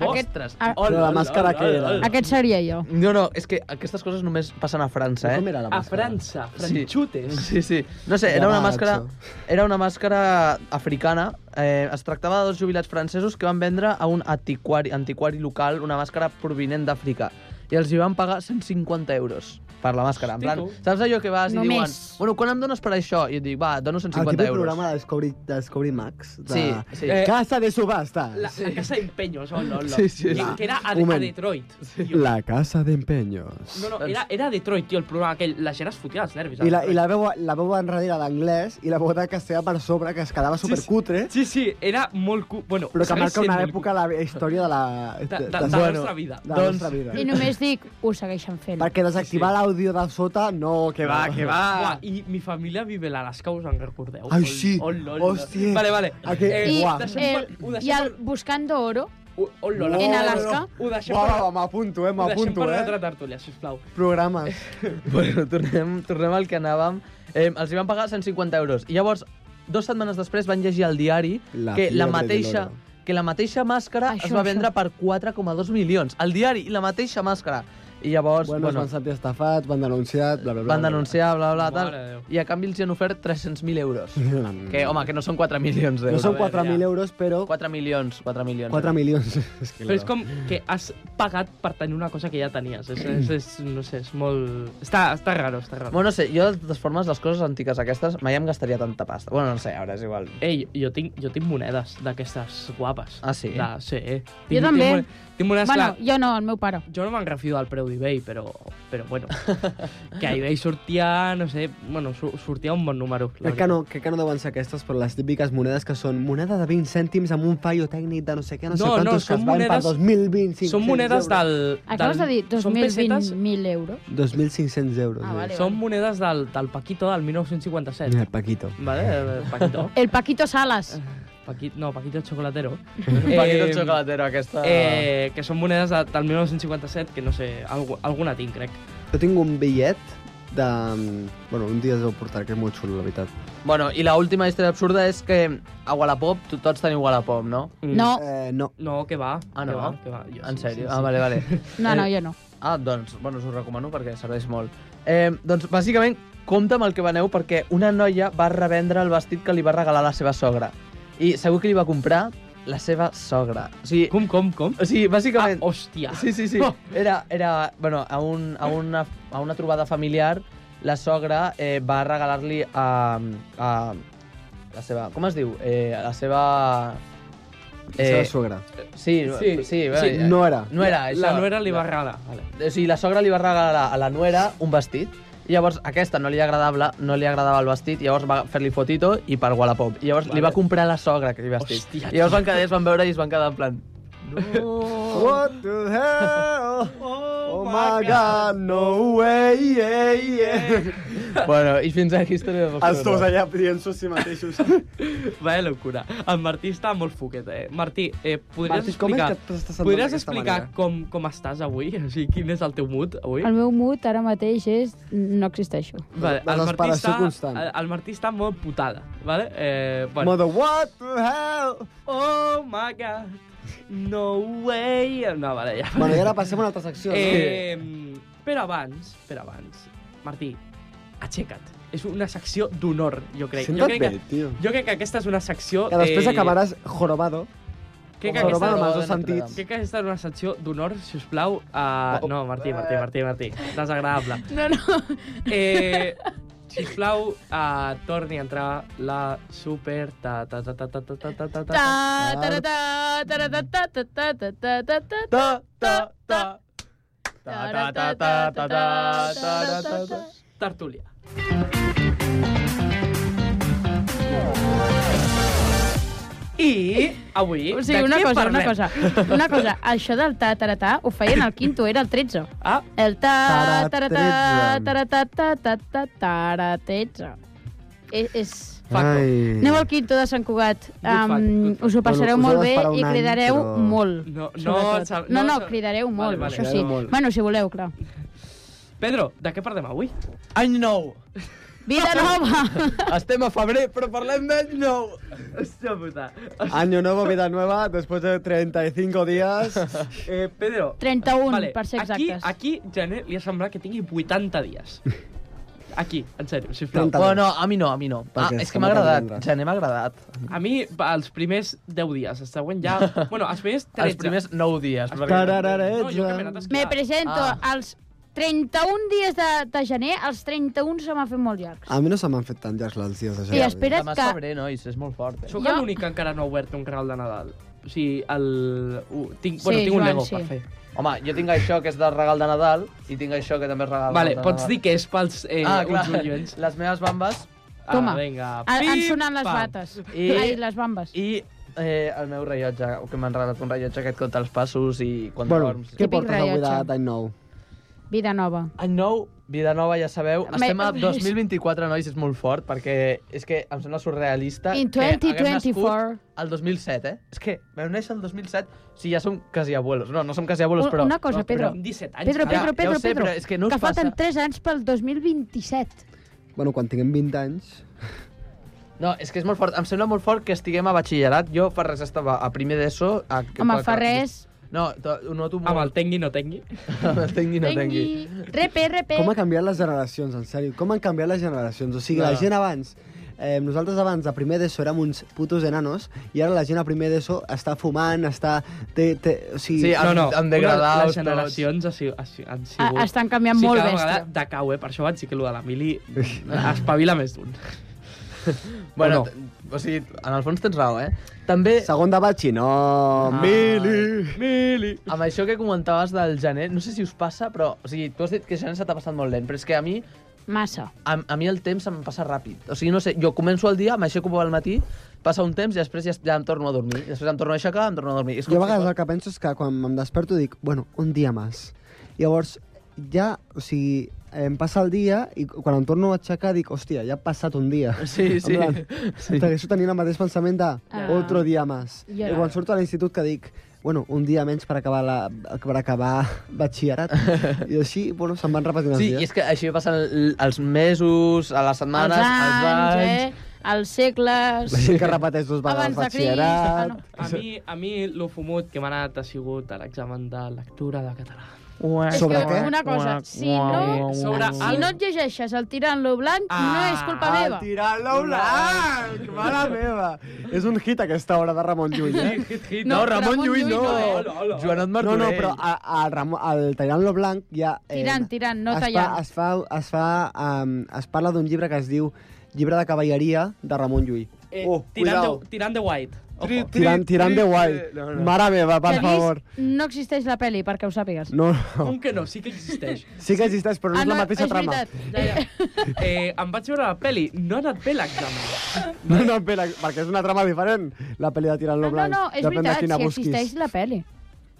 H: Aquest-
F: Ostres!
H: a-
G: Però la màscara que era?
H: Aquest seria jo.
F: No, no, és que aquestes coses només passen a França, eh?
G: Com era la
I: A
G: màscara?
I: França,
F: Sí.
I: franxutes.
F: Sí, sí. No sé, era una
G: Gravats,
F: màscara,
G: o?
F: era una màscara africana. Eh, es tractava de dos jubilats francesos que van vendre a un antiquari, antiquari local una màscara provinent d'Àfrica. I els hi van pagar 150 euros per la màscara. En plan,
I: Hosti, tu.
F: saps allò que vas i
H: Només.
F: diuen bueno, quan em dones per això? I et dic, va, et dono
G: El
F: 150
G: tipus
F: euros.
G: programa de Discovery, de Discovery Max. De...
F: Sí, sí.
I: Eh,
G: Casa de subastas.
I: La, la casa d'empenyos, oh, no, no.
F: Sí, sí,
I: I
F: sí.
I: Que era a, a
G: Woman.
I: Detroit. tio.
G: La casa d'empenyos.
I: No, no, era, era a Detroit, tio, el programa aquell. La gent es fotia els nervis.
G: I la, i la veu, la veu enrere d'anglès i la veu de castellà per sobre, que es quedava supercutre,
I: Sí, sí, era molt... Cu... Bueno,
G: però que
I: segueix
G: marca
I: sent
G: una
I: molt
G: època de la història de la...
I: cu- De, de, de, la
G: bueno,
I: nostra vida. Doncs
G: de la nostra vida.
H: I només dic, ho segueixen fent.
G: Perquè desactivar l'àudio de sota, no, que va, que va.
I: Buah, I mi família vive a les caus, en recordeu?
G: Ai,
I: Ol-
G: sí.
I: ol- ol- ol-
G: Hòstia.
I: Vale, vale. Eh,
G: Aquell-
H: I,
G: Buah.
I: deixem
H: el,
I: per- ho
H: I
I: deixem
H: el
I: per-
H: Buscando Oro,
I: ho- ol- ol-
H: en
I: ol-
H: Alaska.
I: Ho deixem
G: Uau,
I: per...
G: uau, m'apunto, eh,
I: Ho deixem
G: m'apunto,
I: per una altra
G: eh.
I: tertúlia, sisplau.
G: Programes.
I: Eh,
F: Bueno, tornem, tornem al que anàvem. Eh, els hi van pagar 150 euros. I llavors, dues setmanes després van llegir al diari
G: La
F: que la
G: fiebre
F: mateixa
G: del oro.
F: que la mateixa màscara
H: Això,
F: es va
H: això.
F: vendre per 4,2 milions. Al diari, la mateixa màscara. I llavors,
G: Bueno, es
F: bueno,
G: van sentir estafats, van denunciar, bla, bla, bla.
F: van denunciar, bla, bla,
I: Mare de
F: tal,
I: Déu.
F: i a canvi els hi han ofert 300.000 euros.
G: Mm.
F: Que, home, que no són 4 milions
G: No
F: d'euros.
G: són
I: veure,
G: 4.000
I: ja.
G: euros, però
F: 4 milions, 4 milions.
G: 4 milions. és que
I: Però és
G: la-
I: com que has pagat per tenir una cosa que ja tenies. És, és, és no sé, és molt... Està, està raro, està raro.
F: Bueno, no sé, jo de totes formes les coses antigues aquestes mai em gastaria tanta pasta. Bueno, no sé, ara és igual.
I: Ei, jo tinc, jo tinc monedes d'aquestes guapes.
F: Ah, sí?
I: De, sí. eh. Tinc,
H: també.
I: Tinc, mone- tinc monedes,
H: bueno,
I: bueno,
H: jo no, el meu pare.
I: jo no me'n refio del preu d'eBay, però, però bueno, que a eBay sortia, no sé, bueno, su- sortia un bon número. la
G: Crec que, no, crec que no deuen ser aquestes, però les típiques monedes que són moneda de 20 cèntims amb un fallo tècnic de no sé què, no, sé
I: No, no,
G: quantos, que
I: són
G: es van
I: monedes-
G: per 2.500
I: Són
G: euros.
I: monedes del...
H: Acabes de
I: del,
H: dir
I: són pessetes-
H: 2.020.000 euros.
G: 2.500 euros.
H: Ah, vale,
I: Són
H: vale.
I: monedes del, del Paquito del 1957.
G: Eh, Paquito.
I: Vale, eh, Paquito.
H: El Paquito Salas.
I: Paqui, no, Paquito Chocolatero.
F: Eh, Paquito xocolatero, aquesta...
I: Eh, que són monedes de, del 1957, que no sé, algu, alguna tinc, crec.
G: Jo tinc un bitllet de... mm, Bueno, un dia es deu portar, que és molt xulo, la veritat.
F: Bueno, i la última història absurda és que a Wallapop to- tots teniu Wallapop, no?
H: No,
G: Eh, no.
I: No, que va.
F: Ah,
I: que
F: no?
I: va, que va. Jo,
F: En
I: sí,
F: sèrio?
I: sí,
F: Ah,
I: sí.
F: vale, vale.
H: no, no, jo no.
F: Ah, doncs, bueno, us ho recomano perquè serveix molt. Eh, doncs, bàsicament, compta amb el que veneu perquè una noia va revendre el vestit que li va regalar la seva sogra. I segur que li va comprar la seva sogra. O sigui,
I: Com, com, com?
F: o sigui
I: Ah,
F: bàsicament...
I: hòstia. Oh,
F: Sí, sí, sí. Era, era bueno, a, un, a, una, a una trobada familiar, la sogra eh, va regalar-li a, a la seva... Com es diu? Eh, a la seva... eh,
G: La seva
I: Eh,
G: sogra.
F: sí, sí,
I: Sí,
F: sí,
I: sí,
F: bé,
G: no era.
F: No era, això.
I: La nuera li va regalar. Vale.
F: O sigui, la sogra li va regalar a la nuera un vestit. I llavors aquesta no li agradava, no li agradava el vestit, llavors va fer-li fotito i per Wallapop. I llavors li va comprar la sogra aquell vestit.
I: Hòstia,
F: I llavors van quedar, es van veure i es van quedar en plan...
I: oh.
G: What the hell? Oh, my God, no way, yeah, yeah.
F: bueno, i fins aquí història de
G: Els dos allà dient-s'ho a si mateixos.
I: Vaya eh, locura. El Martí està molt foquet, eh? Martí, eh, podries
G: Martí, com és
I: explicar...
G: que t'estàs sentant
I: podries
G: d'aquesta
I: explicar
G: manera?
I: com, com estàs avui? O sigui, quin és el teu mood avui?
H: El meu mut ara mateix és no existeixo.
I: Vale, el Martí,
G: Desesperació
I: està,
G: constant.
I: el- el Martí està molt putada, vale? Eh, bueno.
G: Mother, what the hell?
I: Oh my god, no way... No, vale, ja.
G: Bueno, i ara passem a una altra secció.
I: Eh, però abans, però abans, Martí, aixeca't. És una secció d'honor, jo
G: no?
I: crec. Jo
G: Senta't
I: crec,
G: bé,
I: que, Eh,
G: tio.
I: jo crec que aquesta és una secció...
G: Que després acabaràs jorobado.
I: Crec
G: Sobre
I: que, aquesta,
G: Obama,
F: roba de
G: els dos
F: Notre Dame.
G: sentits.
I: crec que aquesta és una secció d'honor, si us plau. A... No, Martí, Martí, Martí, Martí. Desagradable.
H: No, no.
I: Eh, si us plau, uh, torni a entrar la super... Ta, ta, ta, ta, ta, ta, ta, ta, ta, ta.
H: Ta, taratà, taratà, ta, ta, ta, ta, ta, ta, ta, ta.
F: Ta, ta, ta. Ta, ta, ta, ta, ta, ta, ta, ta, ta.
I: Tertúlia. I avui...
H: O sigui,
I: de
H: una
I: què
H: cosa, una
I: parlem?
H: cosa. Una cosa, això del ta, taratà, ho feien al quinto, era el 13.
I: Ah,
H: El ta, taratà,
G: Tara,
H: taratà, ta, ta, ta, tara, 13. És... és...
I: Facto.
G: Ai.
H: Aneu al quinto de Sant Cugat.
I: fact,
H: Um,
I: good fact.
H: us ho
G: Bueno, us
H: passareu
G: heu
H: molt bé
G: d'esperar
H: i
G: un any,
H: cridareu
G: però-
H: molt.
I: No, no,
H: sobretot.
I: sab-
H: no, no,
I: sab-
H: cridareu
I: Vale,
H: molt,
I: vale.
H: això sí.
G: Cridareu molt.
H: Bueno, si voleu, clar.
I: Pedro, de què parlem avui?
F: Any nou.
H: Vida nova!
F: Estem a febrer, però parlem d'any nou.
I: Hòstia puta.
G: Año nuevo, vida nueva, después de 35 días.
I: Eh, Pedro,
H: 31,
I: vale,
H: per ser
I: aquí,
H: exactes.
I: aquí gener li ha semblat que tingui 80 dies. Aquí, en sèrio, sisplau.
G: 30.
F: Bueno, no, a mi no, a mi no. Ah,
G: Perquè
F: és que
G: sembla
F: m'ha
G: que
F: agradat.
G: vendràs.
F: Gener m'ha agradat.
I: A mi, va, els primers 10 dies, el següent ja... Bueno, els primers 13.
F: Els primers nou dies.
I: Els
F: perquè-
G: Tarararetza.
I: No, jo que m'he anat a esquiar.
H: Me presento
F: Ah.
H: als 31 dies de, de gener, els 31 se m'han fet molt llargs.
G: A mi no se m'han fet tant llargs els dies de
H: I
G: gener.
H: espera-
F: Demà és
H: que-
F: febrer, nois, és molt fort. Eh?
I: Sóc
H: Jo-
I: l'únic que encara no ha obert un canal de Nadal. O sigui, el... ho- Tinc,
H: Sí,
I: bueno, tinc un
H: Joan,
I: Lego
H: sí.
I: per fer.
F: Home, jo tinc això que és del regal de Nadal i tinc això que també és regal
I: Vale,
F: de Nadal.
I: pots dir que és pels eh,
F: ah, clar,
I: uns oients.
F: les meves bambes
H: Toma.
I: Ah, vinga.
H: A,
I: Pim,
H: han sonat les
I: pam.
H: bates. I...
F: I-
H: Ai, les bambes. I...
F: i eh, el meu rellotge, que m'han regalat un rellotge que et compta els passos i quan
G: Bueno,
F: dorms.
G: què
H: Típic
G: portes
H: rellotge.
G: avui d'any nou?
H: Vida nova.
F: Any nou, Ah, vida nova, ja sabeu.
H: Me-
F: Estem a 2024, nois, és molt fort, perquè és que em sembla surrealista
H: In
F: que haguem
H: 2024.
F: nascut el 2007, eh? És que vam néixer el 2007, sí, ja som quasi abuelos. No, no som quasi abuelos, però...
H: Una cosa,
I: No, però
H: Pedro.
I: amb 17 anys.
H: Pedro,
I: ja.
H: Pedro,
F: ja ho
H: Pedro,
F: sé,
H: Pedro,
F: però és que no us
H: que falten
F: passa.
H: 3 anys pel 2027.
G: Bueno, quan tinguem 20 anys...
F: No, és que és molt fort. Em sembla molt fort que estiguem a batxillerat. Jo fa res estava a primer d'ESO... A...
H: Home, fa res...
F: No, to- ho noto molt.
I: Amb el tengui, no tengui.
F: Amb el tengui, no tengui.
H: Tengui. Repe, repe.
G: Com han canviat les generacions, en sèrio. Com han canviat les generacions. O sigui,
F: No.
G: la gent abans... Eh, nosaltres abans de primer d'ESO érem uns putos enanos i ara la gent a primer d'ESO està fumant, està... Té, té, o sigui,
F: Sí, amb- amb degradaus
I: les
F: tots.
I: generacions ha sigut, ha sigut, han
H: Ah,
I: sigut...
H: estan canviant molt
I: cada
H: bèstia.
I: vegada decau, eh? Per això vaig dir que allò de l'Emili espavila més d'un.
F: Bueno,
I: O no?
F: t- o sigui, en el fons tens raó, eh? També,
G: Segon de batxi, no, ah.
F: eh,
G: mili!
I: Mili!
F: amb això que comentaves del gener, no sé si us passa, però... O sigui, tu has dit que el gener se t'ha passat molt lent, però és que a mi,
H: Massa.
F: a, a mi el temps se'm passa ràpid. O sigui, no sé, jo començo el dia, m'aixeco al matí, passa un temps i després ja, ja em torno a dormir. I després em torno a aixecar, em torno a dormir. És
G: Jo a
F: com
G: vegades
F: si-
G: el que penso és que quan em desperto dic, bueno, un dia més. Llavors, ja, o sigui, em passa el dia i quan em torno a aixecar dic, hòstia, ja ha passat un dia.
F: Sí, sí.
G: En plan,
F: Sí.
G: Segueixo tenint el mateix pensament de
H: Ah.
G: otro dia més.
H: Ja.
G: I quan surto a l'institut que dic, bueno, un dia menys per acabar, la, per acabar batxillerat. I així, bueno, se'n van repetint els
F: Sí, i
G: dies.
F: és que així passen l- els mesos, a les setmanes,
H: els anys,
F: als anys...
H: eh? Els segles...
G: La gent que repeteix dues vegades
H: Abans de Crist. Ah,
G: batxillerat.
H: no.
I: A mi, a mi lo fumut que m'ha anat ha sigut a l'examen de lectura de català.
H: És
G: Ah. Sobre
H: que
G: què?
H: una cosa, si no,
I: Sobre
H: si no et llegeixes el tirant-lo blanc, no
I: Ah,
H: és culpa meva.
G: Tirar-lo blanc! Mare Ah, meva! És un hit aquesta hora de Ramon Llull, eh?
F: No, Ramon, Llull, no.
I: Hola, hola.
F: Joanot
G: No,
F: Martorell.
G: no, però a, a Ramon, al Tirant-lo Blanc ja... eh,
H: Tirant, tirant, no
G: es
H: tallant.
G: Fa, es, fa, es, fa, um, es parla d'un llibre que es diu Llibre de cavalleria de Ramon Llull.
I: Eh,
F: Oh,
H: Oh,
I: tirant, de, tirant de white. Ojo.
G: Tirant, tirant de guai.
H: eh,
G: Mare meva, per
H: Que vist,
G: favor.
H: no existeix la peli, perquè ho sàpigues.
G: No, no.
I: Com que no? Sí que existeix.
G: Sí que existeix, però no és la mateixa
H: Ah, és
G: trama.
H: veritat.
I: Ja, ja. Eh, em vaig veure la peli, no ha anat bé l'examen.
G: No, no, espera, perquè és una trama diferent, la pel·li de Tirant-lo
H: No, no,
G: Blanc.
H: no, és
G: Depèn de
H: veritat,
G: quina
H: si
G: busquis.
H: existeix la peli.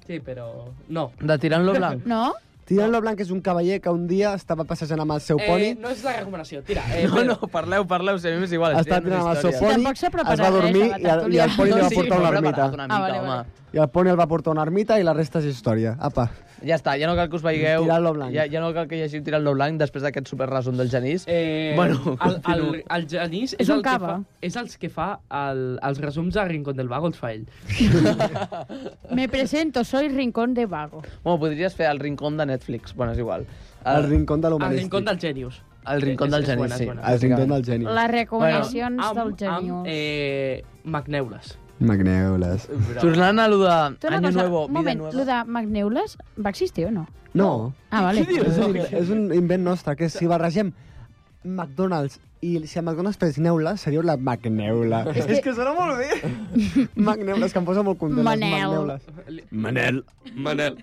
I: Sí, però... No.
F: De tirant-lo blanc.
H: No?
G: Tirant-lo Blanc és un cavaller que un dia estava passejant amb el seu poni,
I: Eh, no és la recomanació, tira. Eh,
F: No, no, parleu, parleu, si a mi m'és igual.
G: estava tirant amb el seu
H: històries.
G: poni,
H: Tampoc s'ha preparat
G: es va
H: res,
G: dormir
H: a la
G: i, el, i el
H: tertúlia.
G: poni li
H: No,
G: va
H: sí,
G: portar una ermita.
F: Una
H: Ah,
F: mica,
H: vale,
F: home.
H: vale.
G: I el poni el va portar una ermita i la resta és història. Apa.
F: Ja està, ja no cal que us veigueu.
G: Tirant-lo blanc.
F: Ja, ja no cal que llegiu tirant-lo blanc després d'aquest superresum del Genís.
I: Eh,
F: Bueno,
I: el, el,
F: continuo.
I: el Genís és,
H: És
I: el
H: un
I: que
H: cava.
I: fa, és els que fa el, els resums de Rincón del Vago, els fa ell.
H: Me presento, soy Rincón de Vago.
F: Bueno, podries fer el rincón de Netflix. Bueno, és igual.
G: El rincón de
I: Ah. El
G: l'humanístic.
I: Rincón del Genius.
F: el rincón
I: És-
F: del
I: és
F: Genís,
I: bona, és
F: sí.
I: bona.
G: El rincón del geni.
H: Les recomanacions
I: amb, eh,
H: del genius.
I: Amb eh, Macneules.
G: Magnèules.
F: Tornant a lo de...
H: Tota una
F: Año
H: cosa,
F: nuevo,
H: un
F: vida
H: moment, lo
F: nueva.
H: de Magneules va existir o no?
G: No,
H: Ah, vale.
F: Què dius?
G: és un, és un invent nostre, que si barregem McDonald's i si a McDonald's fes neula, seria la Macneula. És, que... és que sona molt bé. Macneula, és que em posa molt content.
H: Manel.
G: Les Manel. Manel.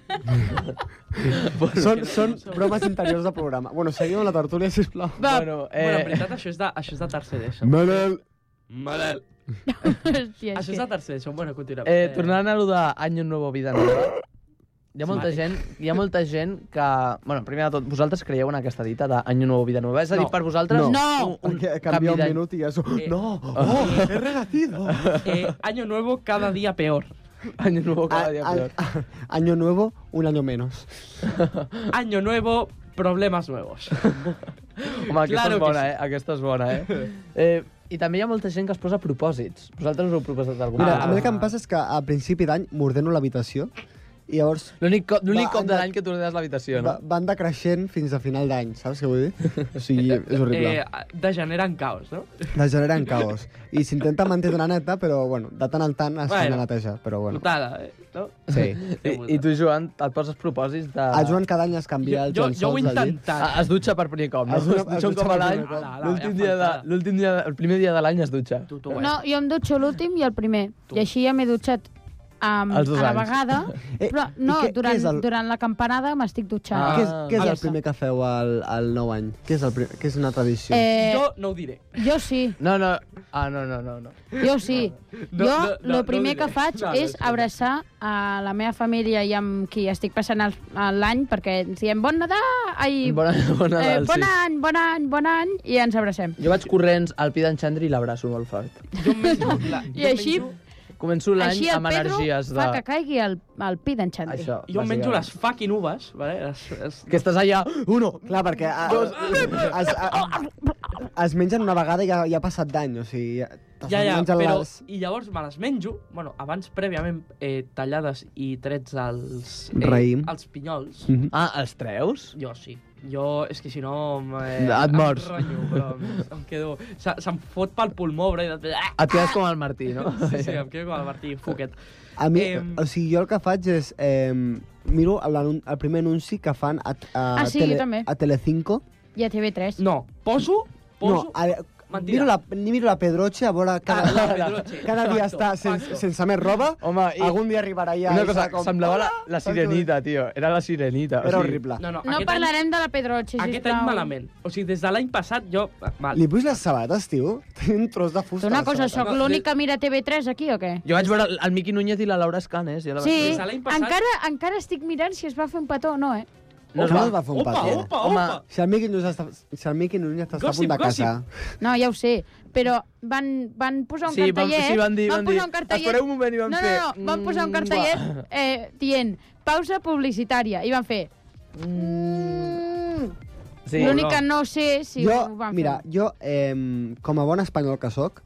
G: són, són bromes interiors del programa. Bueno, seguim amb la tertúlia, sisplau.
F: Va, bueno,
I: Eh... Bueno,
F: eh,
I: en veritat, això és de, això és de tercer d'ESO.
G: Manel.
H: Hòstia, és
I: Això és
H: que...
I: de tercer d'ESO. Bueno, continuem.
F: eh, tornant a lo de Año Nuevo, Vida Nueva, hi ha molta gent, hi ha molta gent que... Bueno, primer de tot, vosaltres creieu en aquesta dita d'Año Nuevo, Vida Nueva? És a dir,
I: No.
F: per vosaltres...
G: No.
F: un- un
G: Perquè
F: canvi
G: canvia un
F: d'any.
G: minut i ja... So...
I: Eh.
G: No, oh, he regacido.
I: Eh, año nuevo, cada día peor.
F: Año Nuevo cada dia
G: A-
F: peor.
G: a- Año nuevo, un año menos.
I: Año nuevo, problemas nuevos.
F: Home, aquesta
I: Claro
F: és
I: que
F: bona,
I: sí.
F: eh? Aquesta és bona, eh? eh? I també hi ha molta gent que es posa propòsits. Vosaltres us heu proposat algun?
G: Mira,
I: Ah.
G: a mi el que em passa és que a principi d'any m'ordeno l'habitació i llavors
F: L'únic cop, l'únic
G: Va,
F: cop de
G: anda-
F: l'any que t'ordenes l'habitació, no?
G: va, van decreixent fins a final d'any, saps què vull dir? O sigui, és horrible.
I: Eh, degeneran caos, no?
G: Les generen caos. I s'intenta mantenir la neta, però bueno, de tant en tant es bueno. fan
I: Bueno.
G: a netejar, però bueno.
I: Putada, eh? No?
G: Sí.
F: I, I tu, Joan, et poses propòsits de...
G: A Joan cada any es canvia
I: Ah. Jo,
G: el Joan
I: jo, jo ho he
G: Sols al llit.
I: intentat.
F: Ah, es dutxa per primer cop, no?
G: Es
F: Es,
G: dutxa-
F: es dutxa
G: es
F: un
G: dutxa
F: cop
G: per
F: a l'any.
G: primer
I: cop.
F: L'últim dia, de, l'últim dia, el primer dia de l'any es dutxa.
I: Tu,
G: eh.
I: tu ho
H: No, jo em dutxo l'últim i el primer. I així ja m'he dutxat um, a
F: Els dos
H: la
F: anys.
H: vegada,
G: Eh,
H: però
G: i
H: no,
G: què- què
H: durant,
G: és el-
H: durant la campanada m'estic dutxant.
G: Ah,
F: Ah.
G: què és, què és
H: Ja
G: el
H: està.
G: primer que feu al, al nou any? Què és, el primer, què és una tradició?
H: Eh,
I: Jo no ho diré.
H: Jo sí,
F: No, no. Ah, no, no, no. no.
H: jo sí.
I: No,
H: jo
I: no,
H: el
I: no, no
H: primer
I: ho
H: que
I: diré.
H: faig
I: No, no,
H: és
I: sí, no.
H: abraçar a la meva família i amb qui estic passant el- l'any, perquè ens diem bon Nadal, ai,
F: Bona, bona
H: eh,
F: Nadal,
H: bon
F: sí.
H: any, bon any, bon any, i ens abracem.
F: Jo vaig corrents al Pi d'en Xandri i l'abraço molt fort.
I: Jo em menjo... La,
H: I
I: jo em
H: així,
I: menjo-
F: Començo l'any
H: així el
F: amb
H: Pedro
F: energies de...
H: fa que caigui el, el pi d'en Xandri.
F: Això,
I: Jo em menjo
F: bàsicament.
I: les fucking uves, vale? Les, les...
F: Que estàs allà... Uno,
G: Clar, perquè a, es, a, es mengen una vegada i ja, ja ha passat d'any, o sigui... Ja, t'has
I: Ja, ja,
G: menjat
I: però...
G: les-
I: I llavors me les menjo, bueno, abans prèviament eh, tallades i trets els...
G: Raïm.
I: Els pinyols.
G: Mhm.
F: Ah, els treus?
I: Jo sí. Jo, és que si no... em, Eh,
F: Et mors.
I: Em rotllo, però em- em quedo... Se, se'm fot pel pulmó, però... i després- Ah!
F: Et quedes com el Martí, no?
I: Sí, sí, em quedo com el Martí, foquet.
G: A mi,
I: Em-
G: o sigui, jo el que faig és... Eh, miro l'anun- el primer anunci que fan a, a,
H: Ah, sí, jo també.
G: a Telecinco.
H: I a TV3.
I: No, poso... Poso...
G: No, a,
I: Mentida.
G: miro, la, miro la Pedroche a veure... Cada,
I: Ah, la Pedroche.
G: cada dia
I: Facto,
G: està sen,
I: facto.
G: sense més roba.
F: Home, i-
G: Algun dia arribarà ja...
F: Una
G: i
F: cosa,
G: serà com-
F: semblava la, la
G: saps què
F: sirenita, tio. Era la sirenita.
G: vull dir? Era horrible.
I: No, no,
H: No
I: aquest any,
H: parlarem de la Pedroche, sisplau.
I: aquest any malament. O sigui, des de l'any passat jo... eh, Mal.
G: Li pus les sabates, tio? Té un tros de fusta.
H: Tu una
G: a les
H: cosa,
G: sabates.
H: sóc l'única que mira TV3 aquí o què?
F: Jo vaig veure el Miqui Núñez i la Laura eh, Escanes. Jo la vaig
H: Sí,
I: des de l'any passat-
H: encara, encara estic mirant si es va fer un petó o no, eh?
G: No, no, es va fer un
I: opa,
G: pató.
I: opa,
F: Home,
I: opa, opa!
G: Si el Miqui Núñez està, si el Miqui Núñez està a
I: Gossip,
G: punt de
I: gossip.
G: casar...
H: No, ja ho sé, però van, van posar un
F: Sí, van-
H: cartellet...
F: sí, van dir- van dir,
H: posar un cartellet...
F: "Espereu un moment", i van
H: no,
F: fer,
H: No, no, van posar un
F: "Mm,
H: cartellet eh, dient pausa publicitària, i van fer... Mm,
F: Sí.
H: L'únic que no sé si
G: jo,
H: ho van
G: mira,
H: fer.
G: jo, eh, com a bon espanyol que sóc,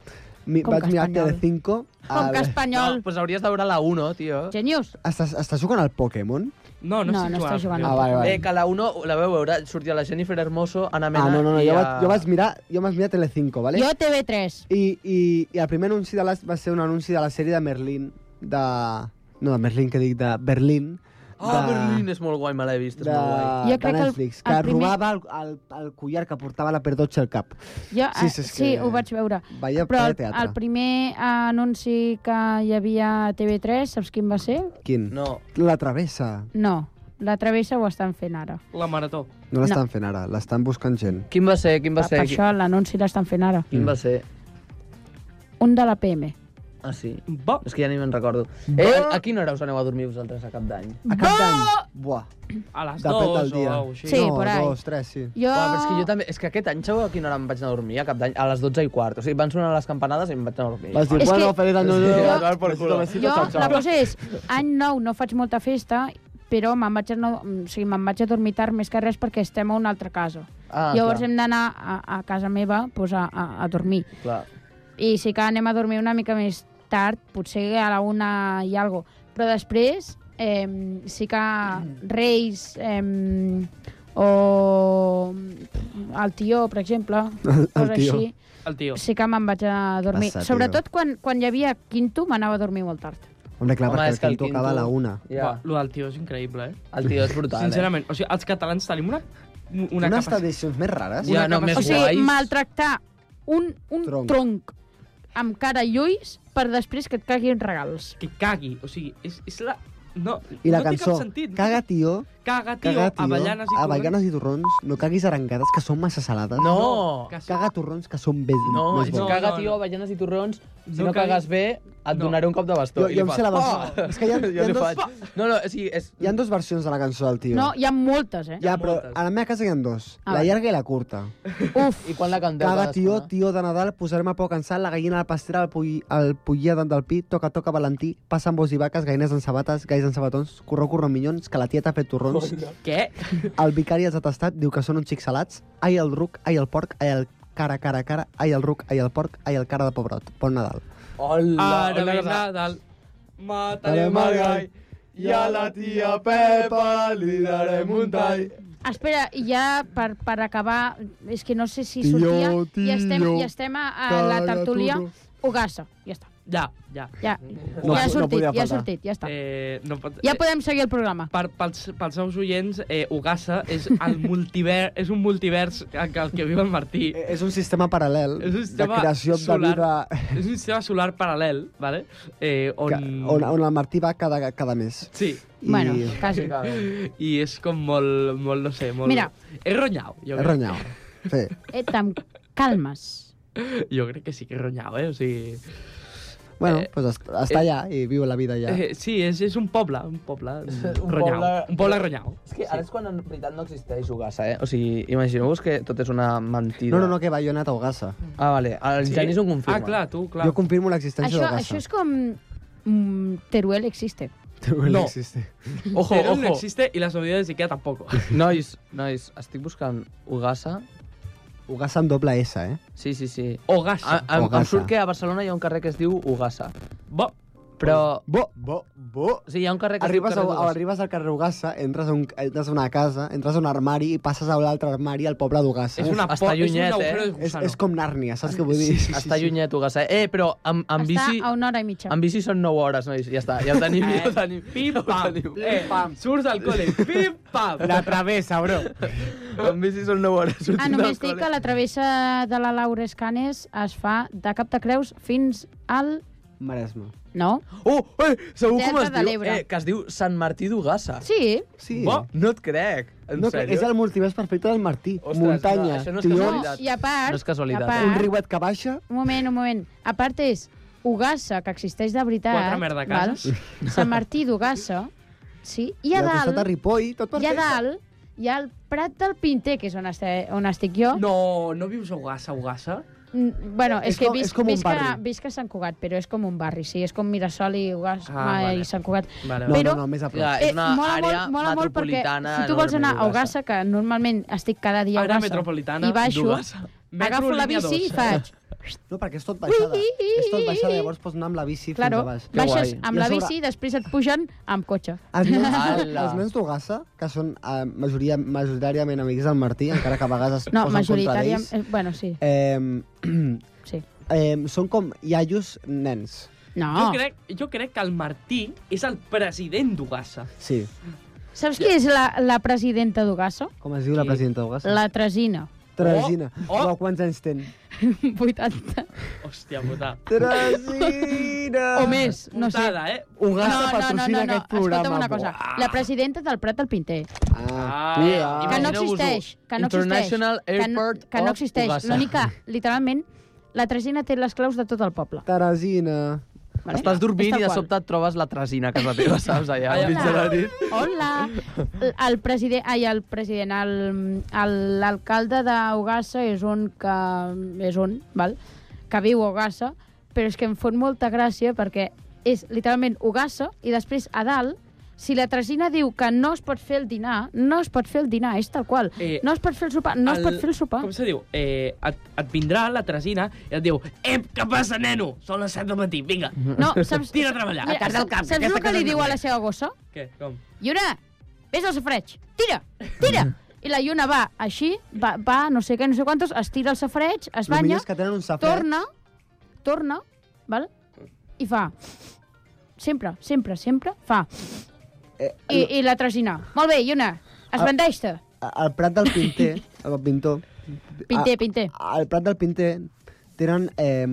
G: mi,
H: Com
G: vaig
H: que
G: mirar
H: espanyol.
G: Telecinco...
H: Com
G: al-
H: que
F: No,
H: espanyol...
F: pues hauries de veure la 1, tio.
H: Genius.
G: Estàs, estàs jugant al Pokémon?
I: No, no,
H: No,
I: estic
H: no està jugant.
G: Ah, vale, vale.
F: Eh, que la 1, la veu veure, sortia la Jennifer Hermoso, Ana Mena...
G: Ah, no, no, no,
F: i
G: jo,
F: a-
G: vaig, jo vaig mirar, jo vaig mirar Telecinco, vale?
H: Jo TV3.
G: I, i, I el primer anunci de la, va ser un anunci de la sèrie de Merlin, de... No, de Merlin, que dic, de Berlín.
F: Ah,
G: de-
F: Berlín és molt guai, me l'he vist, és
G: de,
F: molt guai.
H: Jo
G: de
H: crec que el-
G: Netflix,
H: el
G: que,
H: primer-
G: robava el, el, el collar que portava la perdotxa al cap.
H: Jo,
G: Sí,
H: eh,
G: sí, és
H: sí
G: que-
H: ho vaig veure.
G: Vaya
H: Però
G: Però
H: el,
G: teatre.
H: el primer anunci que hi havia a TV3, saps quin va ser?
G: Quin?
F: No,
G: La travessa.
H: No, la travessa ho estan fent ara.
I: La marató.
G: No l'estan fent ara, l'estan buscant gent.
F: quin va ser, quin
H: Per,
F: va ser?
H: per això l'anunci l'estan fent ara.
F: Quin va ser?
H: Un de la PM.
F: Ah, sí.
I: Bo,
F: És que ja ni me'n recordo. Eh, a- a quina hora us aneu a dormir vosaltres a cap d'any?
G: A cap d'any. Buah,
I: a les
G: depèn del
I: dues o
G: dia.
I: alguna cosa així.
H: Sí,
G: no,
H: por ahí.
G: dos, tres, sí.
H: Jo...
F: Uau, però és que jo també... És que aquest any, sabeu a quina hora em vaig anar a dormir? A cap d'any? A les 12 i quart. O sigui, van sonar les campanades i em vaig anar a dormir.
G: Vas dir,
H: És
G: bueno,
H: que-
G: feliç any nou.
F: Sí,
G: Jo-
F: a tomar por
G: besito,
F: culo.
H: Jo,
G: besito,
H: la
G: ciao, ciao.
H: cosa és, any nou no faig molta festa, però me'n vaig, a no, o sigui, me'n vaig a dormir tard més que res perquè estem a una altra casa.
F: Ah,
H: Llavors
F: clar,
H: hem d'anar a, a casa meva pues, a, a, a dormir.
F: clar.
H: I sí que anem a dormir una mica més tard, potser a la una i algo. Però després eh, sí que Reis eh, o mm, el tió, per exemple, coses
G: tió.
H: així,
I: El tio.
H: sí que me'n vaig a dormir.
G: Passa, tio.
H: Sobretot quan, quan hi havia quinto m'anava a dormir molt tard.
G: Hombre, clar, perquè el quinto acaba a la una.
I: Ja.
F: Ja,
I: Lo del tio és increïble, eh?
F: el tio és brutal,
I: Sincerament, o sigui, els catalans tenim una, una,
G: Unes
I: capacitat...
G: tradicions més rares.
F: eh? Ja, no,
I: capacitat-
F: més
H: o sigui,
F: guais.
H: maltractar un, un
G: Tronc.
H: tronc. tronc amb cara i ulls per després que et caguin regals.
I: Que cagui, o sigui, és, és la... No,
G: I la
I: no
G: cançó,
I: té cap sentit.
G: caga tio,
I: Caga, tio,
G: caga tio,
I: avellanes i torrons.
G: avellanes i torrons, no caguis arengades, que són massa salades.
F: No,
I: Que sí.
G: Caga torrons, que són bé,
F: no,
G: més
F: si
G: bons.
I: no,
F: caga,
I: no.
F: tio, avellanes i torrons, si
I: No
F: no, cagues
I: caguis.
F: bé, et
I: No.
F: donaré un cop de bastó.
G: Jo-
F: I
G: jo
F: li
G: em sé la
F: fas,
G: versió.
F: "Oh!"
G: És que hi ha-
F: Jo
G: hi ha
F: li
G: dos-
F: faig, No, no, sí, és...
G: Hi ha dos versions de la cançó del tio.
H: No, hi ha moltes, eh?
G: ja,
I: ha
G: però
I: moltes.
G: a la meva casa hi ha dos,
H: Ah,
G: la
H: vale.
G: llarga i la curta.
F: I quan la canteu?
G: Caga tio,
F: cadascuna?
G: tio de Nadal, posarem a poc cansar la gallina al pastera, el, poll, el pollia dalt del pi, toca, toca, Valentí, passen bous i vaques, gallines en sabates, gais en sabatons, corró, corró, minyons, que la tieta ha fet torrons,
I: Què?
G: el vicari els ha tastat, diu que són uns xics salats, ai el ruc, ai el porc, ai el cara, cara, cara, ai el ruc, ai el porc, ai el cara de pebrot. Bon Nadal.
F: Hola,
I: Ara
F: hola,
I: ve
F: hola.
I: Nadal. Matarem al gai i a la tia
F: Pepa li darem un tall.
H: Espera, i ja per, per acabar, és que no sé si sortia,
G: Tio,
H: i estem,
G: tio,
H: i estem a, a la tertúlia, Ogassa, ja està.
I: Ja, ja.
H: Ja,
G: No,
H: ja ha
G: no
H: sortit,
G: podia
H: ja ha
G: faltar.
H: sortit, ja està.
I: Eh, no pot...
H: Ja
I: eh,
H: podem seguir el programa.
I: per, pels, pels nous oients, eh, Ugassa és, el multiver, és un multivers en què- el que viu el Martí.
G: Eh, És un sistema paral·lel
I: És un sistema
G: de creació de
I: solar.
G: vida
I: És un sistema solar paral·lel, vale? eh, on...
G: que, on, on el Martí va cada, cada mes.
I: Sí,
G: I
H: Bueno, quasi.
I: i és com molt, molt no sé, molt...
H: Mira.
I: És ronyau,
G: és
I: jo crec.
G: ronyau. Sí.
H: Et amb Eh, calmes.
I: Jo crec que sí que és ronyau, eh? O sigui...
G: Bueno,
I: Eh,
G: pues està, està allà i viu la vida allà.
I: Eh, sí, és, és un poble, un poble
F: Un
I: ronyau.
F: poble-
I: Un poble ronyau.
F: És que ara és quan en veritat no existeix Ugassa, eh? O sigui, imagineu-vos que tot és una mentida.
G: No, no, no, que va, jo he anat a Ogassa.
F: Ah, vale, el sí? Genís ho confirma.
I: Ah, clar, tu, clar.
G: Jo confirmo l'existència
H: Això,
G: d'Ogassa.
H: això és com... Mm, Teruel existe.
G: No.
F: No.
G: Existe.
F: Ojo,
I: Teruel no
F: ojo.
I: existe i les novedades de Ikea tampoc.
F: Nois, nois, estic buscant Ugassa.
G: Ogassa amb doble S, eh?
F: Sí, sí, sí.
I: O
F: A,
I: gassa.
F: a, em
G: Ogassa.
F: surt que a Barcelona hi ha un carrer que es diu Ugassa.
I: Bo,
F: Però...
G: Bo, bo, bo.
F: Sí, hi ha un carrer que
G: Arribes,
F: es
G: a,
F: diu carrer
G: a- arribes al carrer Ogassa, entres a, un, entres a una casa, entres a un armari i passes a l'altre armari al poble d'Ogassa.
I: és una
F: Està
I: por,
F: llunyet,
I: és un agujero
F: eh?
I: de
G: és,
I: gusano.
G: és com Nàrnia, saps què vull dir? Sí,
F: Està llunyet Ugassa. Eh, però amb, amb
H: Està
F: bici...
H: a una hora i mitja.
F: Amb bici són 9 hores, nois. Ja està, ja ho tenim, ja ho tenim.
I: Eh, Pim, pam. Eh,
G: pam.
I: surts del col·le. Pim, pam.
G: travessa, bro.
F: Amb bici són 9 hores. sortim
H: Ah,
F: del
H: només dic
F: col·le.
H: que la travessa de la Laura Escanes es fa de Cap de Creus fins al...
G: Maresme.
H: No?
F: Oh, eh, segur com
H: Delta
F: es
H: de
F: diu?
H: l'Ebre.
F: Eh, que es diu Sant Martí d'Ugassa.
H: Sí,
G: Sí.
F: Bo, no et crec. En
G: No,
F: sèrio?
G: és el multivers perfecte del Martí.
F: Ostres, no,
G: Muntanya,
F: això no és
G: tions,
H: no,
F: casualitat.
H: i a part...
F: No és casualitat,
H: a
F: eh?
H: part,
G: un riuet que baixa...
H: Un moment, un moment. A part és Ugassa, que existeix de veritat.
I: Quatre merda cases.
H: val? Sant Martí d'Ugassa, sí.
G: I
H: I a
G: al costat a
H: dalt,
G: Ripoll, tot
H: i a
G: perfecte.
H: dalt, hi ha el Prat del Pinter, que és on, este, on estic jo.
I: No, no vius a Ogassa, Ogassa?
H: Mm, Bueno, és,
G: És
H: que
G: com- és
H: visc,
G: com un
H: visc, a,
G: barri.
H: visc a Sant Cugat, però és com un barri, sí, és com Mirasol i Ugassa
I: Ah, vale.
H: i Sant Cugat.
I: Vale,
G: No,
I: vale.
G: no,
H: Però- eh,
G: no, més a prop.
F: Ja, és una àrea metropolitana
H: si tu vols
F: enorme,
H: anar a
F: Ogassa.
H: Ogassa, que normalment estic cada dia a
I: Àrea
H: Ogassa,
I: metropolitana
H: i baixo,
I: d'Ogassa. Metro
H: agafo la
I: línia
H: bici i
I: dos.
H: faig...
G: No, perquè és tot baixada.
H: Ui, ui,
G: és tot
H: ui,
G: baixada,
H: ui.
G: llavors pots anar amb la bici
H: Claro,
G: fins a baix.
H: baixes
F: guai.
H: amb
G: I a
H: la
G: sobre-
H: bici i després et pugen amb cotxe.
G: Els nens,
F: Ala.
G: els nens d'Ogassa, que són eh, majoria, majoritàriament amics del Martí, encara que a vegades es
H: No,
G: posen contra
H: majoritària...
G: ells,
H: eh, Bueno, sí,
G: eh,
H: sí.
G: eh, són com iaios nens.
I: Jo
H: No,
I: crec, jo crec que el Martí és el president d'Ugassa.
G: Sí,
H: saps qui és la, la presidenta d'Ugassa?
G: com es diu la
I: Sí.
G: presidenta d'Ogassa?
H: La Tresina,
G: Teresina.
I: Oh, oh.
G: Uau, quants anys ten?
H: 80
I: Hòstia puta.
G: Teresina!
H: o més, no sé.
I: Putada, eh?
G: Ogassa patrocina aquest programa.
H: Escolta'm una cosa.
G: buah.
H: La presidenta del Prat del Pinter.
G: Ah,
I: Ah,
G: cuidao.
H: Que no
F: Imagineu-vos-ho.
H: existeix. Que no existeix.
F: International
H: que no,
F: Airport
H: que no
F: of
H: existeix.
F: Ogassa.
H: L'únic que, literalment, la Tresina té les claus de tot el poble.
G: Teresina.
H: Vale?
F: Estàs dormint
H: És
F: i
H: tal
F: de
H: qual.
F: sobte et trobes la tresina a casa teva, saps, allà,
I: Allà.
F: al mig de la nit.
H: Hola! El- El president... Ai, el president... el- el- L'alcalde d'Ogassa és un que... És un, val? Que viu a Ogassa, però és que em fot molta gràcia perquè és literalment Ogassa i després a dalt si la Tresina diu que no es pot fer el dinar, no es pot fer el dinar, és tal qual.
I: Eh,
H: no es pot fer el sopar, no es pot fer el sopar.
I: Com se diu? Eh, et, et vindrà la Tresina i et diu Ep, què passa, neno? Són les 7 del matí, vinga.
H: No, saps...
I: Tira a treballar.
H: Mira,
I: A casa del camp,
H: Saps
I: aquesta
H: el que
I: casa
H: li
I: no
H: diu a
I: té.
H: la seva gossa?
I: Què? Com?
H: Lluna, vés al sofreig. Tira, tira. I i la lluna va així, va, va no sé què, no sé quantos, es tira el safareig, es
G: Lo millor
H: banya,
G: és que tenen un safet.
H: torna, torna, val? i fa... Sempre, sempre, sempre, fa...
G: Eh, Ah.
H: I, i la tragina. Molt bé, lluna, es bandeix-te.
G: al Prat del Pinter, el pintor...
H: Pinter,
G: Ah,
H: pinter.
G: a- Al Prat del Pinter tenen eh,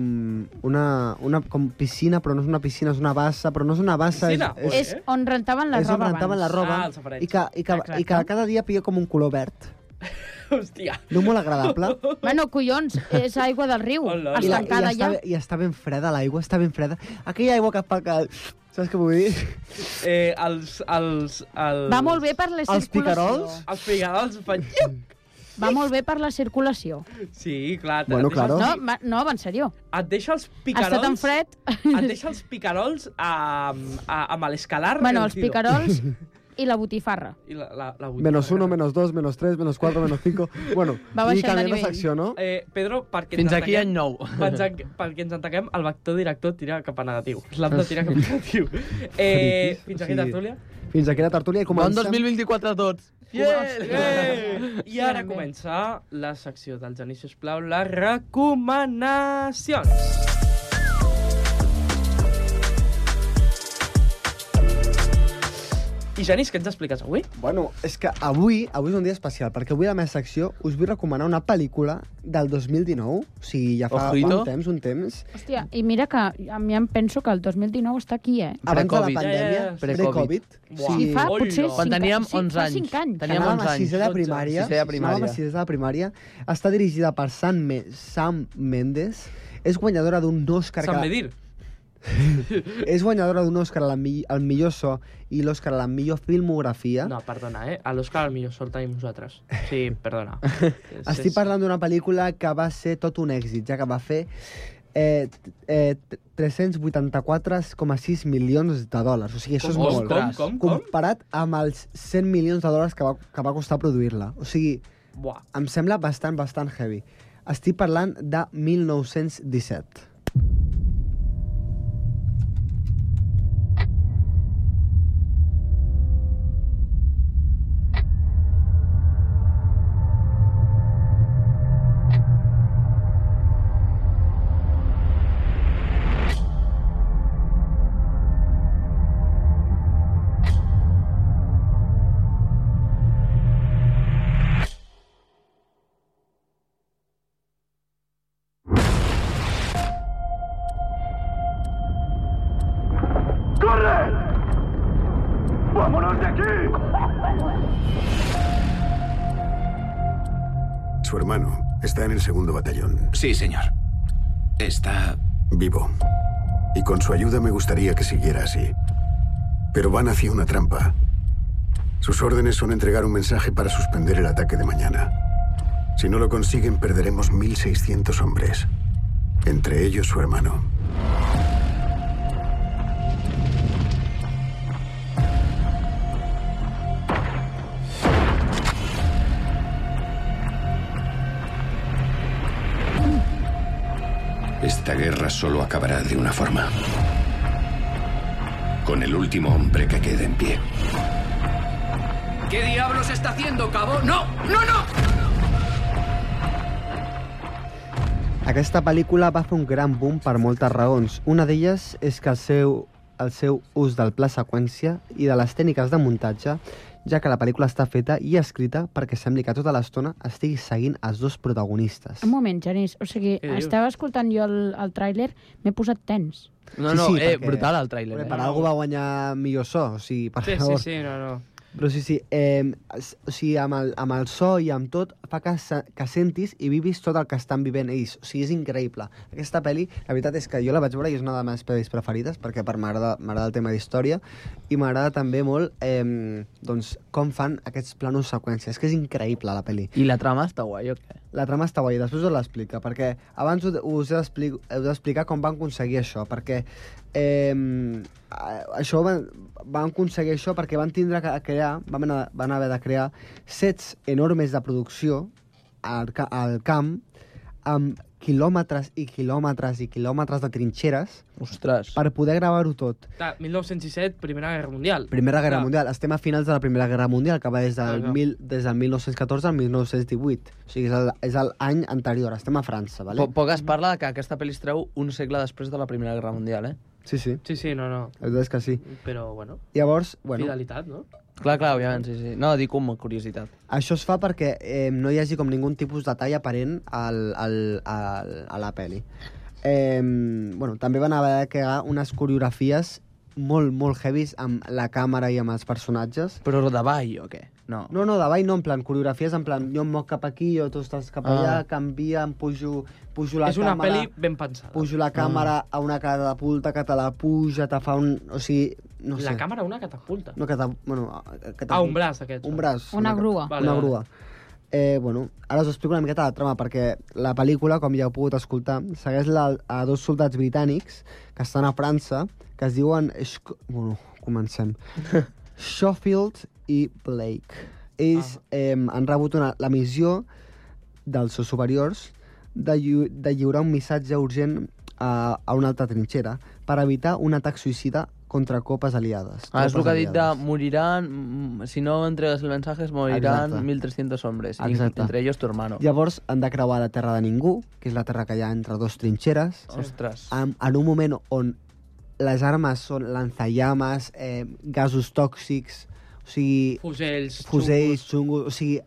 G: una, una com piscina, però no és una piscina, és una bassa, però no és una bassa...
I: Piscina?
G: És, és,
H: És on rentaven la
G: és on
H: roba
G: rentaven
H: abans.
G: la roba
I: Ah, el safareig.
G: i, que, i, que, i que
H: Exacte.
G: cada dia pilla com un color verd.
I: Hòstia.
G: No molt agradable.
H: Bueno, collons, és aigua del riu,
I: Hola, hola.
G: I, la, i,
H: estancada
G: està,
H: ja.
G: I està ben freda l'aigua, està ben freda. Aquella aigua que fa que... Saps què vull dir?
I: Eh, els, els, els...
H: Va molt bé per la
G: Els
H: circulació.
G: picarols?
I: Els pigarols fan... Iuc!
H: Va molt bé per la circulació.
I: Sí, clar. et
G: Bueno,
I: deixa els-
G: claro.
H: No, ma- no, en serió.
I: Et deixa els
H: Ha
I: picarols...
H: estat en fred.
I: Et deixa els picarols a, a, amb l'escalar...
H: Bueno, els
I: reducido.
H: picarols i la botifarra.
I: I la, la, la botifarra.
G: Menos uno, menos dos, menos tres, menos cuatro, menos cinco... Bueno,
H: Va
G: i
H: baixant de
G: canviem de
H: nivell.
G: secció, no?
I: Eh, Pedro, perquè
F: Fins
I: ens
F: aquí any
I: ataquem,
F: nou.
I: Fins a, perquè ens ataquem, el vector director tira cap a negatiu. L'hem de tirar cap a negatiu. Eh, fins
G: Sí.
I: aquí, tertúlia.
G: Fins aquí la tertúlia i
F: Bon
G: comencem...
F: 2024 a tots.
I: Eh! I ara
H: Finalment.
I: comença la secció del Genís, sisplau, les recomanacions. I Genís, què ens expliques avui?
G: Bueno, és que avui, avui és un dia especial, perquè avui a la meva secció us vull recomanar una pel·lícula del 2019, o sigui, ja fa
F: Ojito.
G: un temps, un temps,
H: Hòstia, i mira que a mi em penso que el 2019 està aquí, eh?
G: abans de la
F: Pre-Covid.
G: pandèmia,
I: Ja, ja, ja.
G: pre-Covid.
I: Buah.
H: I fa
I: Hola.
H: potser
I: Quan
H: cinc,
F: teníem
H: sí,
F: 11
H: fa
F: anys.
H: cinc anys.
F: Teníem
G: Anàvem
F: 11
G: a
F: anys,
G: sisè de
I: 12,
G: primària.
F: sisè de primària.
G: Anàvem a sisè de primària. Està dirigida per Sam, Me Sam Mendes. És guanyadora d'un Òscar...
I: Sant
G: que-
I: Medir.
G: És guanyadora d'un Òscar al, mi al millor so i l'Òscar a la millor filmografia.
I: No, perdona, eh? A l'Òscar el millor sol tenim nosaltres. Sí, perdona.
G: Estic parlant d'una pel·lícula que va ser tot un èxit, ja que va fer eh, t- eh, t- 384,6 milions de dòlars. O sigui, això és
I: Com,
G: molt.
I: com, com, com?
G: Comparat amb els 100 milions de dòlars que va, que va costar produir-la. O sigui,
I: Buah.
G: em sembla bastant, bastant heavy. Estic parlant de 1917.
J: Su hermano está en el segundo batallón,
D: Sí, señor. Está...
J: vivo. Y con su ayuda me gustaría que siguiera así. Pero van hacia una trampa. Sus órdenes son entregar un mensaje para suspender el ataque de mañana. Si no lo consiguen, perderemos 1.600 hombres. Entre ellos su hermano.
C: Esta guerra solo acabará de una forma. Con el último hombre que quede en pie.
D: ¿Qué diablos está haciendo, cabo? ¡No! ¡No, no!
G: Aquesta pel·lícula va fer un gran boom per moltes raons. Una d'elles és que el seu, el seu ús del pla seqüència i de les tècniques de muntatge, ja que la pel·lícula està feta i escrita perquè sembli que tota l'estona estigui seguint els dos protagonistes.
H: Un moment, Genís. O sigui,
I: Què dius?
H: estava escoltant jo el, el tràiler, m'he posat tens.
F: No,
G: Sí,
F: no,
G: sí,
F: eh,
G: perquè-
F: brutal el tràiler.
G: Bé,
F: Eh?
G: per algú va guanyar millor so, o sigui, per
I: Sí, sí,
G: favor.
I: sí, no, no.
G: Però sí, sí, eh, s- o sigui, amb el, amb el so i amb tot fa que, se, que sentis i vivis tot el que estan vivint ells. O sigui, és increïble. Aquesta pel·li, la veritat és que jo la vaig veure i és una de les meves pel·lis preferides perquè per m'agrada m'agrada el tema d'història i m'agrada també molt eh, doncs, com fan aquests planos seqüències. És que és increïble la pel·li.
F: I la trama està guai, o què?
G: La trama està guai, després us l'explica, perquè abans us, us, he d'expli- us he d'explicar com van aconseguir això, perquè eh, això van, van aconseguir això perquè van tindre que crear, van, anar- van haver de crear sets enormes de producció al, ca- al camp amb qui- quilòmetres i quilòmetres i quilòmetres de trinxeres
F: Ostres.
G: per poder gravar-ho tot.
I: Ta- 1917, Primera Guerra Mundial.
G: Primera Guerra
I: Clar.
G: Mundial. Estem a finals de la Primera Guerra Mundial, que va des del,
I: Clar, clar.
G: mil, des del 1914 al 1918. O sigui, és el- és l'any anterior. Estem a França, vale?
F: Po poc es parla que aquesta pel·li es treu un segle després de la Primera Guerra Mundial, eh?
G: Sí, sí.
I: Sí, sí, no, no.
G: La veritat és que sí.
I: Però, bueno,
G: Llavors,
I: bueno.
G: bueno,
I: fidelitat, no?
F: Clar, clar, òbviament, sí, sí. No, dic com a curiositat.
G: això es fa perquè eh, no hi hagi com ningun tipus de tall aparent al, al, al, a la pel·li. Eh, bueno, també van haver de crear unes coreografies molt, molt heavies amb la càmera i amb els personatges.
F: Però davall o què? No.
G: No, no, davall no, en plan, coreografies en plan, jo em moc cap aquí, jo tu estàs cap
F: Ah.
G: allà, canvia, em pujo, pujo la
I: és una
G: càmera...
I: pel·li ben pensada.
G: Pujo la càmera a una catapulta que te la puja, te fa un... O sigui, no sé.
I: La càmera, una catapulta.
G: No, cata... Bueno, a- catapulta.
I: Ah, un braç, aquest.
F: eh?
G: Un braç.
H: Una
G: ca-
H: grua.
I: Vale,
G: una
I: vale.
G: grua. Eh, bueno, ara us explico una miqueta la trama, perquè la pel·lícula, com ja heu pogut escoltar, segueix la, a dos soldats britànics que estan a França, que es diuen... Sch- Bueno, comencem. Schofield i Blake.
F: Ah.
G: Ells eh, han rebut una, la missió dels seus superiors de, lli de lliurar un missatge urgent a, a una altra trinxera per evitar un atac suïcida contra copes aliades.
F: Ah, és el
G: tropes
F: que ha dit de
G: aliades.
F: moriran, mm, si no entregues el mensaje, moriran
G: Exacte.
F: 1.300 hombres, i
G: Exacte.
F: entre ellos tu hermano.
G: Llavors han de creuar la terra de ningú, que és la terra que hi ha entre dos trinxeres,
F: Ostres.
G: en, en un moment on les armes són lanzallames, eh, gasos tòxics, o sigui,
I: Fusells,
G: fusells, xungos... O sigui,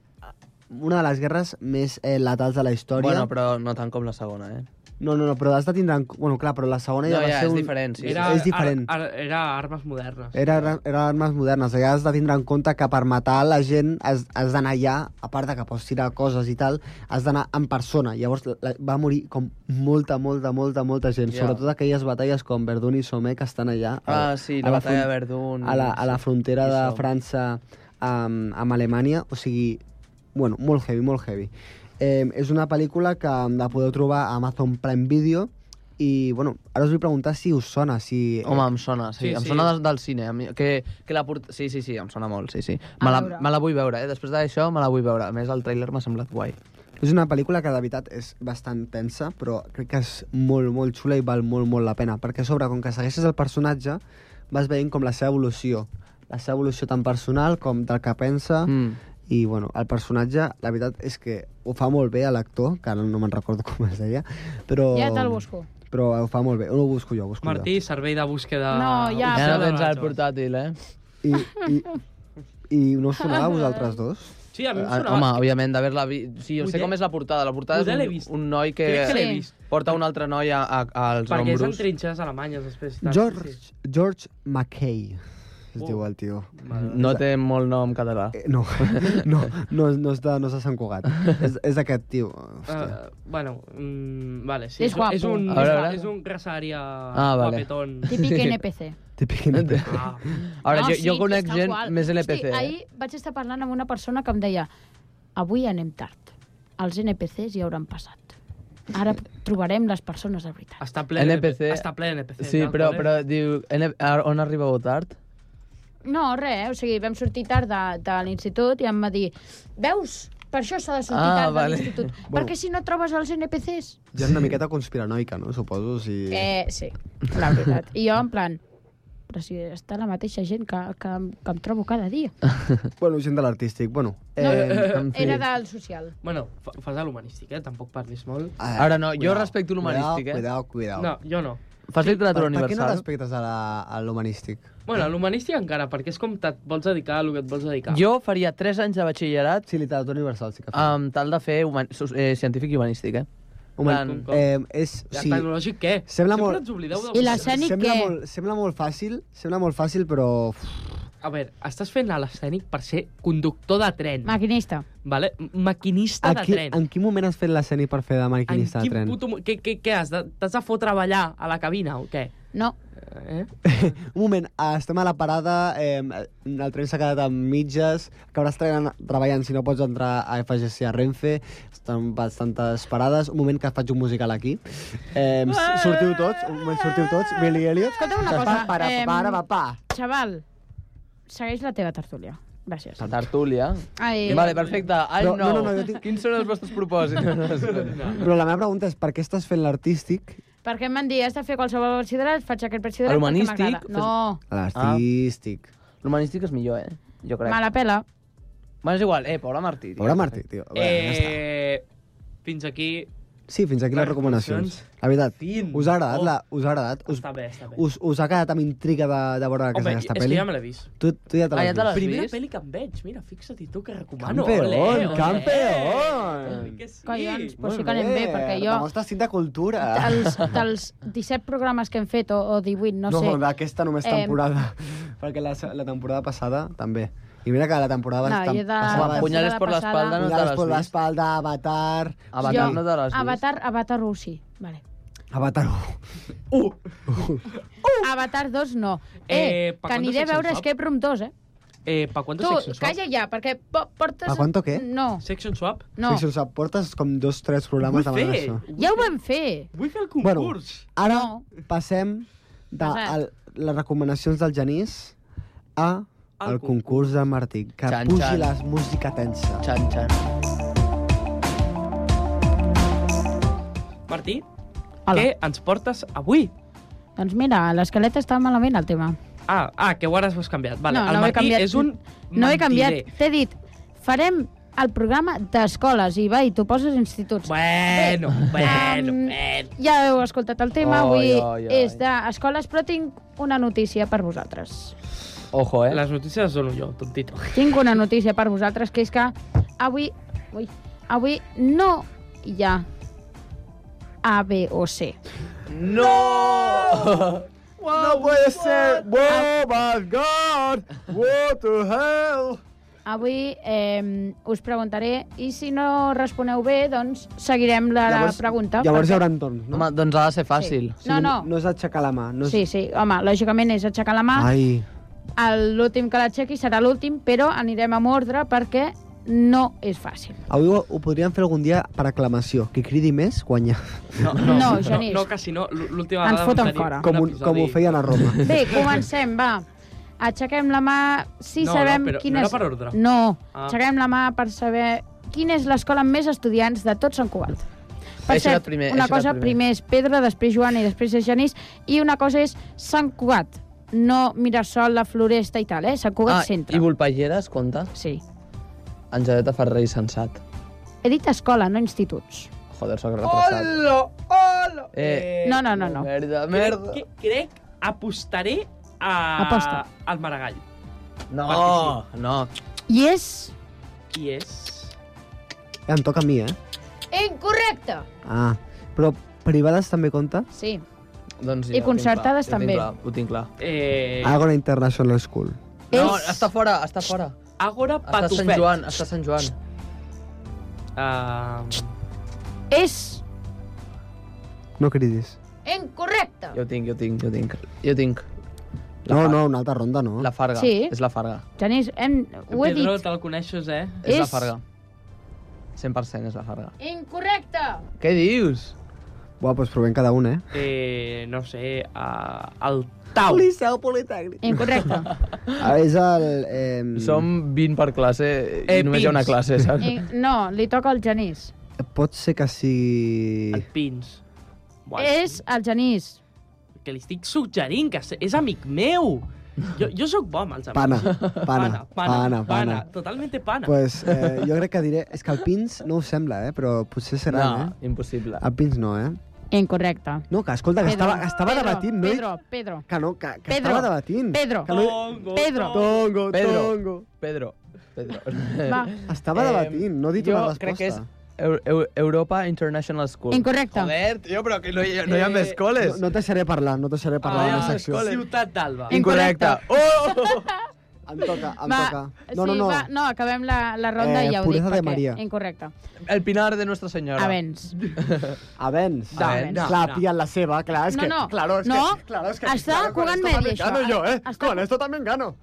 G: una de les guerres més eh, letals de la història.
F: Bueno, però no tant com la segona, eh?
G: No, no, no, però has de tindre... En... Bueno, clar, però la segona
F: No,
G: ja va
F: ja,
G: ser
F: és
G: un...
F: diferent, sí, sí.
I: Era,
G: és diferent.
I: Ar, ar, era armes modernes.
G: Era, era armes modernes. Allà has de tindre en compte que per matar la gent has, has d'anar allà, a part de que pots tirar coses i tal, has d'anar en persona. Llavors la- la, va morir com molta, molta, molta, molta gent.
F: Ja.
G: Yeah. Sobretot aquelles batalles com Verdun i Somme que estan allà. eh,
F: Ah, sí, la batalla de Verdun.
G: A la, a la
F: Sí.
G: frontera
F: I
G: de
F: Somme.
G: França amb, amb Alemanya. O sigui, bueno, molt heavy, molt heavy. Eh, és una pel·lícula que la podeu trobar a Amazon Prime Video i, bueno, ara us vull preguntar si us sona, si...
F: Eh, Home, em sona, sí,
I: Sí,
F: sí em
I: sí.
F: sona del, del cine. a mi- Que, que la port... Sí, sí, sí, em sona molt, sí, sí. Me la,
H: veure.
F: me la vull veure, eh? Després d'això me la vull veure. A més, el tràiler m'ha semblat guai.
G: És una pel·lícula que de veritat és bastant tensa, però crec que és molt, molt xula i val molt, molt la pena, perquè a sobre, com que segueixes el personatge, vas veient com la seva evolució, la seva evolució tan personal com del que pensa, mm.
F: Mm.
G: i bueno, el personatge, la veritat és que ho fa molt bé a l'actor, que ara no me'n recordo com es deia, però...
H: Ja te'l busco.
G: Però ho fa molt bé, ho busco jo, ho busco
I: Martí, servei de búsqueda...
H: No, ja,
F: Ja
I: oficial
F: no
I: de
F: tens el
I: Nacho.
F: portàtil,
G: jo.
F: eh?
G: I, i, I no us sonava a vosaltres dos?
I: Sí, a mi em
F: Ah,
I: sonava.
F: Home, òbviament, d'haver-la vist... Sí, jo sé
I: Poder-
F: com és la portada. La portada
I: Poder
F: és
I: l'he vist.
F: un, un noi que,
I: Crec que l'he
H: Sí.
I: vist.
F: porta un altre noi a, a, als
I: Perquè és en
F: ombros.
I: trinxeres alemanyes, després. i tal,
G: George,
I: Doncs Sí,
G: George McKay, es
I: Oh.
G: diu el tio.
I: sí. Vale.
F: No té molt nom català.
G: Eh, No, no, no, no, és de, no és de Sant Cugat. és, és d'aquest tio.
F: Ah.
G: Hòstia.
I: Uh, bueno, mm, vale, sí.
H: És
I: un- És
H: guapo.
I: un,
F: A veure,
I: és,
F: a veure.
I: és un grassària
F: Ah, vale.
I: guapetón.
H: Típic NPC.
G: Típic independent.
I: Ah,
F: A veure,
H: Eh, No,
F: jo,
H: sí,
F: jo conec
H: és tal
F: gent
H: qual.
F: més LPC.
H: És que
F: eh?
H: ahir vaig estar parlant amb una persona que em deia avui anem tard, els NPCs ja hauran passat. Ara trobarem les persones de veritat.
I: està ple
F: NPC.
I: NPC. Està ple NPC.
F: Sí,
I: no?
F: però,
I: Joder.
F: però diu... N a- on arribeu tard?
H: No, res, eh? o sigui, vam sortir tard de, de l'institut i em va dir veus, per això s'ha de sortir
F: Ah,
H: tard
F: vale.
H: de l'institut,
G: Bueno.
H: perquè si no trobes els NPCs...
G: Ja és una miqueta conspiranoica, no? Suposo, si...
H: Eh, sí, la veritat. I jo en plan, però si està la mateixa gent que, que, em- que em trobo cada dia.
G: Bueno, gent de l'artístic, bueno. Eh,
H: No,
G: en fi.
H: Era del social.
I: Bueno, fa- fas de l'humanístic, eh? Tampoc parlis molt.
G: Ah,
F: Ara no, jo respecto l'humanístic, eh?
G: Cuidao, cuidao.
I: No, jo no.
F: Fas
G: Per,
F: literatura
G: per què no
F: universal?
G: respectes a la- a l'humanístic?
I: Bueno, l'humanístic encara, perquè és com et vols dedicar al que et vols dedicar.
F: Jo faria 3 anys de batxillerat
G: Sí, literatura universal sí que fa.
F: amb tal de fer human... so- eh, científic i humanístic, eh?
G: Human-
I: com- com-
G: eh, és,
I: Ja,
G: sí,
I: tecnològic, què?
G: Sembla
I: Sempre
G: molt-
I: ens oblideu de...
H: I l'escènic,
G: sembla,
H: què?
G: molt, sembla molt fàcil, sembla molt fàcil, però... uf,
I: A veure, estàs fent a l'escènic per ser conductor de tren,
H: Maquinista.
I: vale? maquinista
G: A qui,
I: de tren.
G: en quin moment has fet l'escena per fer de maquinista
I: en
G: de
I: quin
G: tren?
I: puto... mo- Què, què, què has? de- T'has de fotre a ballar a la cabina o què?
H: No,
I: Eh?
G: Un moment, eh, estem a la parada, eh, el tren s'ha quedat amb mitges, acabaràs treballant, treballant si no pots entrar a FGC a Renfe, estan bastantes parades. Un moment que faig un musical aquí. Eh, s- sortiu tots, un moment, sortiu tots, Billy Elliot.
H: Escolta'm una cosa,
G: Pa, para,
H: em,
G: para, pa, pa.
H: Xaval, segueix la teva tertúlia. Gràcies.
F: La tertúlia.
H: Ai,
F: vale, perfecte. Ai,
G: Però-
F: no.
G: no, no, no, jo tinc-
F: Quins són els vostres propòsits?
G: Però la meva pregunta és per què estàs fent l'artístic?
H: Per què em van dir, has de fer qualsevol batxillerat, faig aquest batxillerat
F: El
H: perquè
F: humanístic,
H: m'agrada. No,
G: L'artístic.
I: Ah.
F: L'humanístic és millor, eh? Jo crec.
H: me la pela.
F: Bueno, és igual. Eh, Paula Martí.
G: Pobre Martí, tio. Bé, ja està.
I: Eh, fins aquí...
G: Sí, fins aquí les
I: les
G: recomanacions.
I: recomanacions.
G: La veritat,
I: Fin.
G: us ha agradat?
I: Oh.
G: La, us ha agradat? Us,
I: Està bé, està bé.
G: us, us ha quedat amb intriga de, de veure
I: Home,
G: aquesta,
I: és
G: aquesta
I: que
G: pel·li?
I: ja me l'he vist.
G: Tu, tu ja te
F: Ah, ja
G: l'has
F: te l'has
G: vist.
I: Primera
F: vist?
I: pel·li que em veig. Mira, fixa't i tu que recomano.
G: Campeón,
I: Ole, ole.
G: campeón.
I: Que sí.
H: Collons, però sí que anem bé, perquè jo...
G: La nostra cinta cultura.
H: Dels, dels 17 programes que hem fet, o, o 18, no,
G: no
H: sé...
G: d'aquesta només
H: Em-
G: temporada. perquè la, la temporada passada també. I mira que la temporada...
H: No,
G: abans tam-
H: jo de-
F: Ah,
G: passava abans.
F: Punyales
H: Ah, la
F: por la
H: passada.
F: espalda no te
G: Punyades
F: l'has
G: per
F: vist.
G: l'espalda, Avatar...
F: Avatar
H: Jo-
F: no te l'has vist.
H: Avatar, Avatar 1, sí. Vale.
G: Avatar
H: Avatar 2 no.
I: Eh,
H: Eh,
I: pa
H: que
I: cuántos
H: aniré a
I: sexos,
H: veure
I: Rob?
H: Escape Room 2, eh?
I: Eh, pa
H: Tu,
I: quantos Section Swap?
H: calla ja, perquè po- portes...
G: Pa cuánto què?
H: No,
I: Section Swap?
H: no.
G: Si us aportes com dos, tres programes de
I: Vull fer.
G: això.
H: Ja ho vam fer.
I: Vull fer el
G: Bueno,
I: concurs.
G: Ara
H: No.
G: passem de
H: Passat.
G: el, les recomanacions del Genís a
I: Al
G: el concurs de Martí. Que
F: Xan,
G: pugi
F: xan.
G: la música tensa.
F: Xan, xan.
I: Martí,
H: Hola.
I: què ens portes avui?
H: Doncs mira, l'esquelet està malament, el tema.
I: Ah, ah, que ho ara ho has canviat. Vale.
H: no,
I: el
H: no ho he
I: Martí
H: canviat.
I: és un
H: No he
I: mentider.
H: canviat. T'he dit, farem el programa d'escoles i va, i tu poses instituts.
I: Bueno, bueno,
H: Em,
I: bueno.
H: Ja heu escoltat el tema,
F: Oi,
H: avui
F: oi, oi.
H: és d'escoles, però tinc una notícia per vosaltres.
F: Ojo, eh?
I: Les notícies les dono jo, tontito.
H: Tinc una notícia per vosaltres, que és que avui, ui, avui no hi ha A, B o C.
F: No!
G: No puede ser! Oh my god! What the hell?
H: Avui eh, us preguntaré, i si no responeu bé, doncs seguirem la
G: Llavors-
H: pregunta.
G: Llavors hi
H: perquè-
G: haurà entorns, no?
F: Home, doncs ha de ser fàcil.
H: Sí. No, no.
G: No és aixecar la mà. No és...
H: Sí, Ah. sí, home, lògicament és aixecar la mà.
G: Ai,
H: El- L'últim que l'aixequi serà l'últim, però anirem amb ordre perquè no és fàcil.
G: avui ho, ho podríem fer algun dia per aclamació. Qui cridi més, guanya.
H: No, Genís.
I: No, no, quasi no. L- L'última
H: Ens
I: vegada vam
H: foten
I: tenir
H: fora.
G: Com, Ah. un,
I: episodi-
G: com ho feien a Roma.
H: Bé, comencem, va. Aixequem la mà si
I: No, no,
H: sabem
I: però
H: quina
I: no era
H: és...
I: per ordre.
H: No,
I: Ah.
H: aixequem la mà per saber quina és l'escola amb més estudiants de tot Sant Cugat. Per
F: Això era
H: cert,
F: primer,
H: una
F: això era
H: cosa,
F: primer.
H: primer és Pedra, després Joan i després és Genís, i una cosa és Sant Cugat, no Mirasol, la Floresta i tal, eh? Sant Cugat
F: Ah,
H: Centre.
F: i Volpajeres, compte.
H: Sí.
F: Angeleta Ferrer i Sensat.
H: He dit escola, no instituts.
F: Joder, sóc retrasat.
I: Hola, hola.
F: Eh,
H: No, no, no, no.
F: Merda, merda.
I: Merda. Crec, crec apostaré a...
H: Aposta.
I: al Maragall.
F: No, no.
H: I és...
I: I és...
G: Ja em toca a mi, eh?
H: Incorrecte!
G: Ah, però privades també compta?
H: Sí.
F: Doncs
H: I concertades també.
F: Ho tinc clar.
I: Eh,
G: Agora International School.
F: No,
H: És-
F: està fora, està fora.
I: Agora
F: Està a
I: Patufet.
F: Sant Joan, està a Sant Joan.
I: Ah,
H: És
G: No cridis.
H: incorrecte!
F: Jo tinc, jo tinc, jo tinc. Jo tinc.
G: No, no, una altra ronda, no?
F: La Farga.
H: Sí.
F: És la Farga.
H: Genís, hem... ho he
I: Pedro,
H: dit.
I: te'l coneixes, eh?
F: És, la
H: És-
F: Farga. 100% és la Farga.
H: Incorrecte!
F: Què dius?
G: Buah, doncs provem cada un, eh?
I: eh no sé, a, al Tau.
G: Liceu Politécnic.
H: Incorrecte.
G: Ah, és el... Eh,
F: Som 20 per classe
I: Eh,
F: i només hi ha una
I: pins.
F: classe, saps?
H: I, no, li toca al Genís.
G: Pot ser que sigui...
I: El Pins. Buah,
H: És el Genís.
I: Que li estic suggerint, que és amic meu. Jo, jo sóc bo amb els amics.
G: Pana, pana, pana, pana. pana.
I: Totalmente pana.
G: Pues, eh, jo crec que diré... És que el Pins no ho sembla, eh? Però potser serà,
F: No,
G: eh?
F: impossible.
G: El Pins no, eh?
H: Incorrecte.
G: No, que escolta, que
H: Pedro,
G: estava, que estava
H: Pedro,
G: debatint, no?
H: Pedro, Pedro,
G: Que no, que, que
H: Pedro,
G: estava debatint.
H: Pedro.
G: Que no...
I: Tongo,
H: Pedro.
G: Tongo,
F: Pedro.
G: tongo.
F: Pedro. Pedro.
H: Va,
G: Estava
F: Eh,
G: debatint, no he dit
F: jo
G: una resposta.
F: crec que és Eu- Eu- Europa International School.
H: incorrecte.
F: Joder, tio, però que no hi ha, no hi ha
I: Eh,
F: més coles.
G: No, no te seré parlar, no te seré parlar
F: Ah,
G: ah, a la
F: ja
G: secció.
F: s'escola.
I: Ciutat d'Alba.
F: Incorrecte. Oh!
G: Em toca, em
H: va,
G: toca. No,
H: sí,
G: no, no.
H: va, no, acabem la, la ronda
G: Eh,
H: i ja ho dic.
G: Puresa de
H: perquè-
G: Maria.
H: Incorrecte.
F: Oh, El Pinar de Nuestra Senyora.
H: Avens.
G: Avenç.
F: No, Avenç.
I: no,
G: Clar,
I: no.
G: pillan la seva, clar, es
H: No,
G: que...
H: no.
G: Claro, es
H: No.
G: que... Claro, es que...
H: Està
G: claro, con
H: jugant
G: esto
H: media,
G: también
H: això.
G: gano yo, eh?
H: Està-
G: Con esto también gano.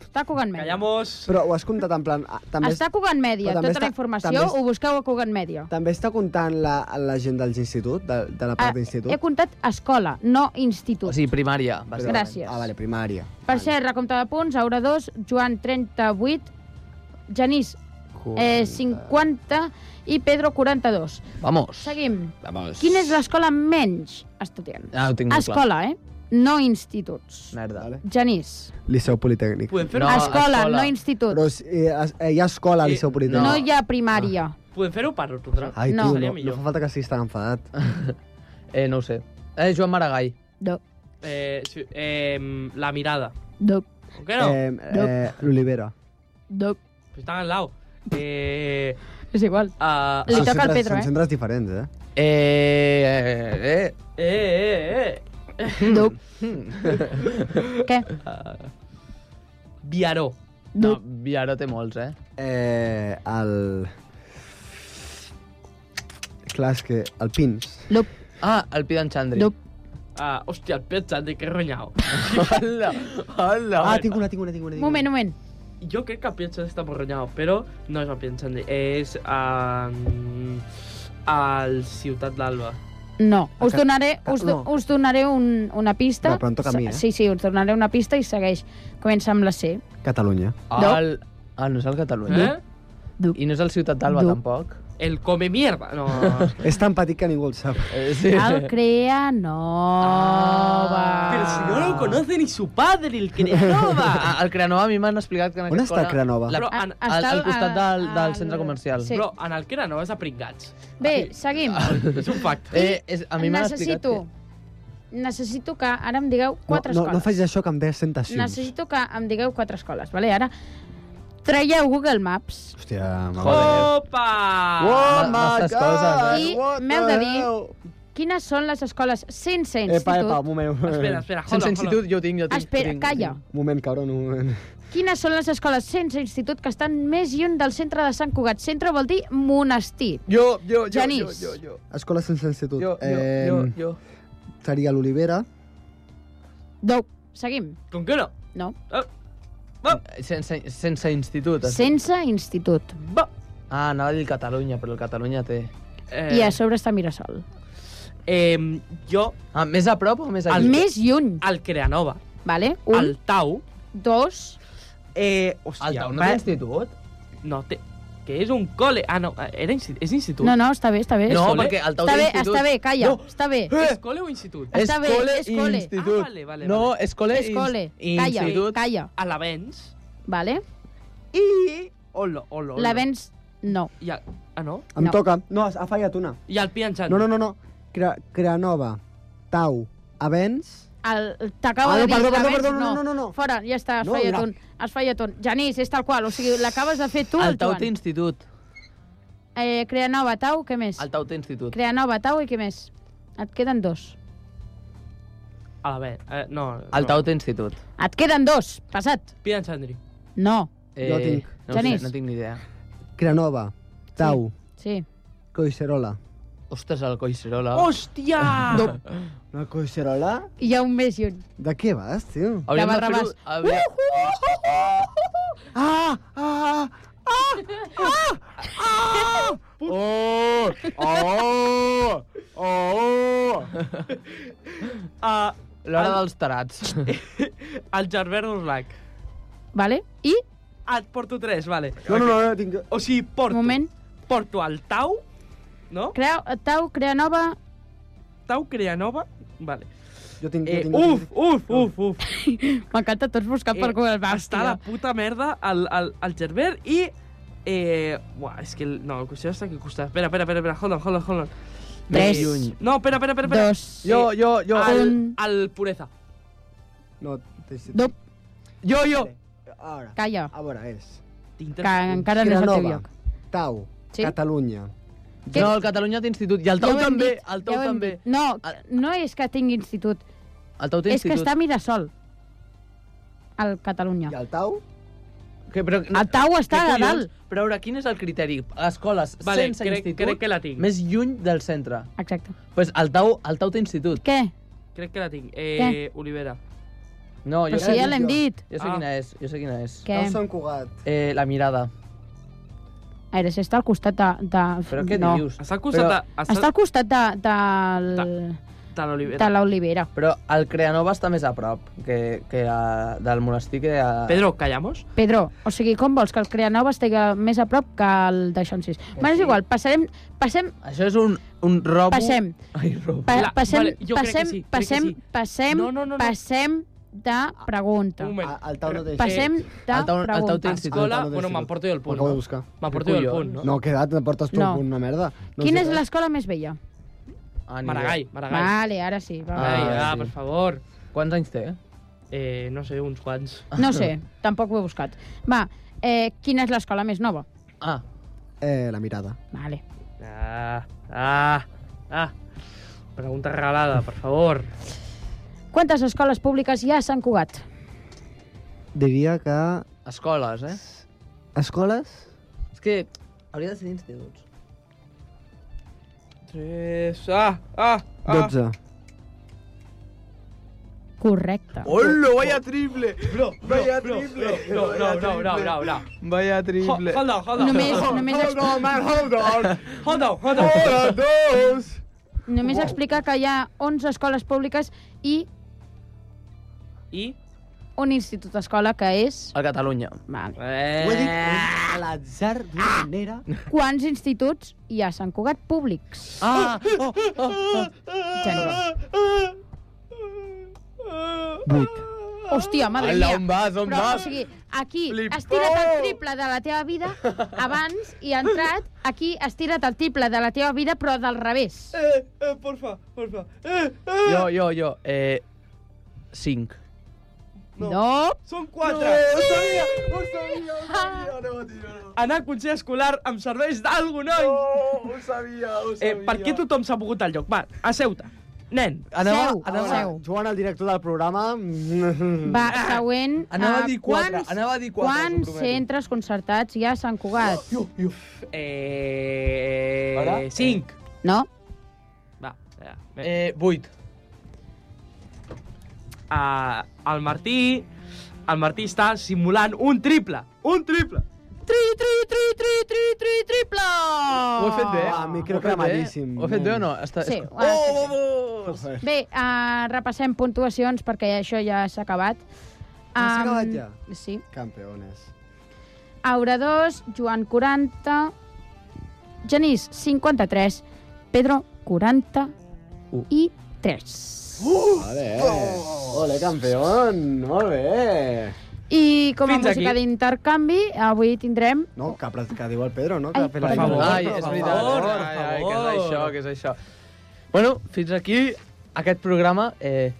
H: Està a Cugat Media.
I: Callamos.
G: Però ho has comptat en plan... ah, També,
H: Està a Cugat Media.
G: però també
H: Tota
G: està-
H: la informació
G: també és-
H: ho busqueu a Cugat Media.
G: també està comptant la, la gent dels instituts, de, de la part
H: Ah,
G: d'institut?
H: He comptat escola, no institut.
F: O sigui, primària.
G: Però-
F: bàsicament.
H: Gràcies.
G: Ah, vale, primària.
H: Per cert, recompte de punts, Aura 2, Joan 38, Genís eh, 50 i Pedro 42.
F: Vamos.
H: Seguim.
F: Vamos.
H: Quina és l'escola menys estudiants?
F: Ah, ho tinc molt clar.
H: escola, eh? No instituts.
F: Merda. Vale.
H: Genís.
G: Liceu Politécnic.
I: Podem fer-ho
F: No,
H: escola,
F: escola.
H: no institut.
G: Però eh, es- eh, hi ha escola al Liceu
H: No,
G: Politécnic.
H: hi ha primària.
I: podem fer per ortografia.
G: Ai,
H: No.
G: tio,
I: Seria
G: no,
I: millor.
G: no fa falta que estiguis tan enfadat.
F: Eh, no ho sé. Eh, Joan Maragall.
H: No.
I: Eh, sí, eh, la mirada.
H: No.
I: ¿Por qué no?
G: Eh, eh, L'Olivera.
H: No.
I: Pues están al lado. Eh,
H: És igual.
I: ah,
H: Li
G: Són
H: toca al
G: centres-
H: Pedro,
G: Són
H: eh?
G: centres diferents, eh?
F: Eh, eh, eh.
I: eh, eh, eh.
H: No. Què?
I: Viaró.
F: No, Viaró té molts, eh?
G: Eh, el... Clar, és que el Pins.
H: No.
F: Ah, el Pi d'en Xandri.
H: No.
I: Ah, hostia, el pizza de que roñado.
F: Hola, hola.
G: Ah, tinc una, tinc una, tinc una. Tinc
H: Moment, moment.
I: Yo creo que el pizza está borroñado, pero no es el pizza es um, al Ciutat d'Alba.
H: No. Us
G: ca-
H: donaré,
G: ca-
H: us, do,
G: no.
H: us donaré un, una pista.
G: No, però em toca a mi, eh?
H: Sí, sí, us donaré una pista i segueix. Comença amb la C.
G: Catalunya.
H: No.
F: El... Ah, no és el Catalunya.
I: ¿Eh?
H: No.
F: I no és el Ciutat d'Alba,
H: No.
F: tampoc.
I: El come mierda. No.
G: És tan petit que ningú el sap.
F: Eh, sí.
H: El Creanova.
I: Pero si no lo conoce ni su padre, el Crenova.
F: Ah, el Creanova a mi m'han explicat que en
G: On
F: aquesta
G: està el Creanova?
F: La...
I: Però en,
H: Ah,
F: Al,
H: Està
F: al
H: al-
F: costat del, del
H: al-
F: centre comercial.
H: Sí.
I: però en el Crenova és a pringats.
H: Bé, seguim.
I: És un fact.
F: Eh, és, a mi m'han explicat
H: necessito, necessito que ara em digueu quatre
G: no, no,
H: escoles.
G: no facis això que em ve sentacions.
H: necessito que em digueu quatre escoles, vale? Ara traieu Google Maps
G: Hòstia,
F: Joder.
G: m'agrada.
I: Opa!
F: Oh,
G: Ah,
F: my God!
H: i m'heu de dir quines són les escoles sense institut.
G: Epa, epa, Eh, un moment. un moment.
I: Espera, espera, hold
F: Sense
I: on, hold
F: institut jo ho tinc, jo ho tinc.
H: Espera,
F: tinc,
H: calla.
G: Un moment, cabron, un moment.
H: Quines són les escoles sense institut que estan més lluny del centre de Sant Cugat? Centre vol dir monestir.
F: Jo, jo, jo, jo,
H: Genís.
F: jo, jo.
G: Escola sense institut.
F: Jo, jo,
G: Em,
F: jo, jo.
G: Seria l'Olivera.
H: No. Seguim.
I: on. Com que no?
H: No.
I: Oh,
F: Sense, sense institut. has dit.
H: Sense institut.
I: Va.
F: Ah, anava a dir el Catalunya, però el Catalunya té...
I: Eh,
H: I a sobre està Mirasol.
I: Eh, jo,
F: Ah, més a prop o més a
I: El-
F: lluny?
H: Més lluny,
I: al Creanova,
H: vale? Un,
I: Un? al Tau,
H: dos...
I: eh, hòstia,
F: Al Tau no
I: va-
F: té institut?
I: no té, que és un col·le. Ah, no, era insti és institut.
H: No, no, està bé, està bé.
F: No,
I: col·le?
F: perquè el Tau
H: Està
F: té
H: bé,
F: institut.
H: està bé, calla,
F: No,
H: està bé.
I: És col·le o institut?
H: Eh.
F: és
H: Està bé,
F: cole
H: és
F: i
H: cole.
F: institut.
I: Ah, vale, vale,
F: No,
I: vale.
F: és cole
H: És cole.
F: i
H: Calla,
F: Eh, institut.
H: calla,
I: A l'Avens
H: vale?
I: i... Olo, olo, olo.
H: L'Avens, no.
I: I a... Ah, no?
G: Em
H: No.
G: toca. No, ha fallat una.
I: I el Pianxan.
G: No, no, no, no. Cre Creanova, Tau, Avens...
H: El- T'acabo
G: Ah, no,
H: de dir,
G: perdó, perdó,
H: l'Avens
G: perdó, no, no, no, no.
H: Fora, ja està, has
G: No,
H: fallat
G: mira.
H: un. Has fallat un. Genís, és tal qual, o sigui, l'acabes de fer tu, el,
F: El Tau té
H: Joan.
F: institut.
H: Eh, crea nova tau, què més?
F: El Tau té institut.
H: Crea nova tau i què més? Et queden dos.
I: A l'Avens. Eh, no, no.
F: El Tau té institut.
H: Et queden dos, passat.
I: Pianxandri.
H: No,
G: Jo tinc.
F: Eh, No, ho sé,
H: Genís.
F: no tinc ni idea.
G: Creanova, Tau,
H: sí.
G: Coixerola.
F: Ostres, el Coixerola.
I: Hòstia! No.
G: Una Coixerola?
H: Hi ha un més i un.
G: De què vas, tio?
F: Hauríem
H: de
F: de fer-ho...
H: Barrabàs.
F: hauria-
G: Ah! Ah!
F: Oh! Oh! Oh!
I: Uh,
F: L'hora
I: El-
F: dels tarats.
I: el Gerber d'Urlac.
H: Vale? I,
I: Et porto Ah, tres, vale.
G: No, no, no, no tinc...
I: O sigui, porto...
H: moment,
I: Porto el Tau, no?
H: crea, tau, crea nova...
I: Tau Creanova. Vale.
G: Jo tinc...
I: Eh,
G: jo tinc
I: uf, uf, uf, uf.
H: M'encanta tots buscant per
I: Eh,
H: Google Maps.
I: Està
H: tio.
I: la puta merda al, al, al Gerber i... Eh, buah, és que... El, no, el costat està aquí al costat. Espera, espera, espera, espera. Hold on, hold on, hold on.
H: Tres,
I: No, espera, espera, espera. espera.
H: dos,
F: Jo, jo, jo.
I: Al,
H: un.
I: al Pureza.
G: No, t'he-
H: No,
F: Jo, jo.
G: Ara,
H: calla,
G: a veure, és...
I: Tinc
H: que encara no és el teu
G: Vilanova,
H: lloc.
G: Tau,
H: Sí?
G: Catalunya.
H: Què?
F: No, el Catalunya té institut. I el Tau
H: ho hem
F: també.
H: dit,
F: El Tau
H: ho hem
F: també.
H: dit. No,
F: El-
H: no és que tingui institut,
F: El Tau té
H: és que
F: institut.
H: està a Mirasol, al Catalunya.
G: I el Tau?
F: Que, però,
H: El Tau està
F: Què
H: a
F: collons?
H: dalt.
F: Però a veure, quin és el criteri? Escoles
I: Vale,
F: sense
I: crec-
F: institut,
I: crec que la tinc.
F: més lluny del centre.
H: Exacte.
F: Pues el Tau, el Tau té institut.
H: Què?
I: Crec que la tinc. Eh, Olivera.
F: No,
H: Però si ja l'hem dit.
F: Jo sé
H: Ah.
F: quina és, jo sé quina és.
H: Què?
G: No s'han cugat.
F: Eh, la mirada.
H: Ara, si està al costat de... de...
F: Però què
H: no.
F: dius?
I: Està al costat
F: Però-
I: de...
H: Està al costat de, del-
I: de l'Olivera.
H: de l'olivera.
F: Però el Creanova està més a prop que, que a, del monestir que a...
I: Pedro, callamos?
H: Pedro, o sigui, com vols que el Creanova estigui més a prop que el de Xonsis? Bé, és igual, passarem... Passem...
F: Això és un, un robo...
H: Passem.
F: Ai, robo.
H: Pa,
I: La-
H: passem,
I: vale, jo crec que
H: passem,
I: sí, crec
H: passem,
I: que sí.
H: passem,
I: No, no, no, no.
H: passem de pregunta.
I: Un
G: A-
I: moment.
G: Al tau no té...
H: Passem de
F: el tau- el tau té
H: pregunta.
F: institut.
I: Escola...
G: no té
I: Bueno,
G: institut.
I: m'emporto jo el punt,
G: Ho Acabo
I: no?
G: de buscar.
I: M'emporto jo el punt,
G: No,
I: no?
G: no quedat, portes tu
H: No.
G: no. una merda. No
H: Quina
G: sé
H: és
G: res.
H: l'escola més vella?
F: Ah, ni
I: Maragall, Maragall.
H: Vale, ara sí. Va.
I: Ai,
F: Ah,
I: ah,
F: sí.
I: per favor.
F: idea. Quants anys té?
I: Eh, no sé, uns quants.
G: Ah.
H: No sé, tampoc ho he buscat. Va, eh, quina és l'escola més nova?
F: Ah,
G: Eh, la mirada.
H: Vale.
I: Ah, ah, ah. Pregunta regalada, per favor.
H: Quantes escoles públiques hi ha a Sant Cugat?
G: Diria que...
F: escoles, eh?
G: Escoles?
F: És que hauria de ser instituts.
I: Tres... Ah, ah, ah.
G: 12.
H: Correcte.
F: Hola, vaya triple!
I: Bro, bro, bro, bro, no, no, no, no, no, no.
F: Vaya
I: Ho- Hold
F: triple.
I: on, hold on.
H: Només, només,
G: Hold on, man, hold on!
I: Hold on, hold on.
G: Hola, dos!
H: Només explicar que hi ha 11 escoles públiques i
I: I...
H: un institut d'escola que és...
F: A Catalunya.
H: Vale.
I: Eh...
G: Ho he dit a l'atzar d'una
H: Ah.
G: manera...
H: Quants instituts hi ha a Sant Cugat públics?
F: Ah! Oh, oh, oh.
H: Gènere.
G: Vuit.
H: Hòstia, madre
F: Hola,
H: mia.
F: on vas, on
H: Però,
F: vas?
H: o sigui, aquí
F: Flipó!
H: has tirat el triple de la teva vida abans i ha entrat, aquí has tirat el triple de la teva vida però del revés.
I: Eh, eh, porfa, porfa. Eh, eh,
F: Jo, jo, jo. Eh, cinc.
H: No.
I: són quatre.
G: sabia, ho sabia, ho sabia, aneu a tirar-ho.
I: Ah. Anar a consell escolar em serveix d'algú, noi.
G: Oh, ho sabia, ho
I: eh, per què tothom s'ha pogut al lloc? Va, asseu-te. Nen,
F: Anava,
H: Seu,
F: anava,
H: seu.
G: Joan, el director del programa... mm,
H: Va, següent.
F: Ah, Anava a
H: eh,
F: dir quatre, anava a dir quatre, Oh, us ho
H: Quants
F: prometo.
H: centres concertats hi ha a Sant Cugat?
I: eh...
F: Ara?
I: Cinc.
H: No?
I: Va, ja. Eh.
F: Eh, vuit.
I: Ah, el Martí... El Martí està simulant un triple. Un triple.
H: Tri, tri, tri, tri, tri, tri, triple!
F: Ho he fet bé? eh?
G: Ah, micro
F: Ho he fet bé?
G: cremadíssim,
F: Ho he fet bé o
G: nen.
F: no? Està...
H: Sí,
F: Oh,
H: Ah, ho has fet bé.
F: vamos!
H: Bé, uh, repassem puntuacions perquè això ja s'ha acabat.
G: Ja s'ha acabat ja?
H: Sí.
G: Campeones.
H: Aura 2, Joan 40, Genís 53, Pedro 40
F: Uh.
H: i 3.
G: Vale, ole, campeón, molt bé.
H: I com a
I: Fins
H: música
I: aquí.
H: d'intercanvi, avui tindrem...
G: No, que, que diu el Pedro, no?
H: Ai,
G: Que ha fet la
H: per
G: llibre.
I: favor,
F: Ai,
I: per
F: és
I: favor,
F: veritat. eh?
I: per
F: Ai, ai,
I: favor.
F: què és això, què és això. Bueno, fins aquí aquest programa. Eh,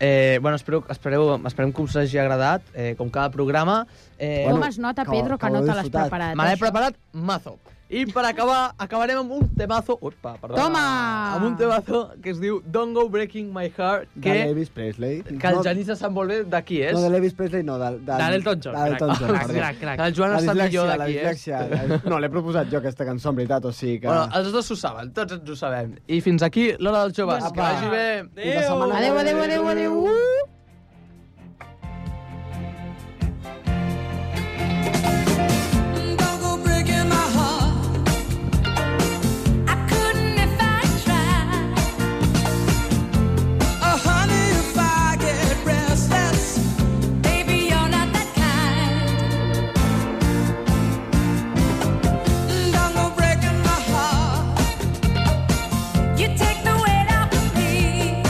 F: eh, bueno, espero, espereu, esperem que us hagi agradat, eh, com cada programa. Eh,
H: Com
G: Bueno,
H: es nota,
G: que-
H: Pedro, que,
G: que ho
H: no
G: he
H: te l'has
G: disfrutat.
H: preparat?
F: me l'he
H: això?
F: preparat mazo. I per acabar, acabarem amb un temazo... Upa, perdona.
H: Toma!
F: Amb un temazo que es diu Don't Go Breaking My Heart,
G: De
F: que,
G: l'Elvis Presley.
F: que el Janís se sap molt bé de qui és.
G: No, de l'Elvis Presley, no. Del, del,
I: De l'Elton John,
G: De l'Elton
I: crac.
G: John,
I: Crac,
G: perdó.
I: crac, crac.
F: Que el Joan
G: La
F: està
G: dislexia,
F: millor de
G: la
F: qui és.
G: dislexia. No, l'he proposat jo, aquesta cançó, en veritat, o sigui que...
F: Bueno, els dos ho saben, tots ens ho sabem. I fins aquí l'hora dels joves.
G: Apa.
F: Que vagi bé.
G: Fins la setmana que
H: Adéu,
G: ve.
H: adéu, adéu, adéu.
K: You take the weight off of me.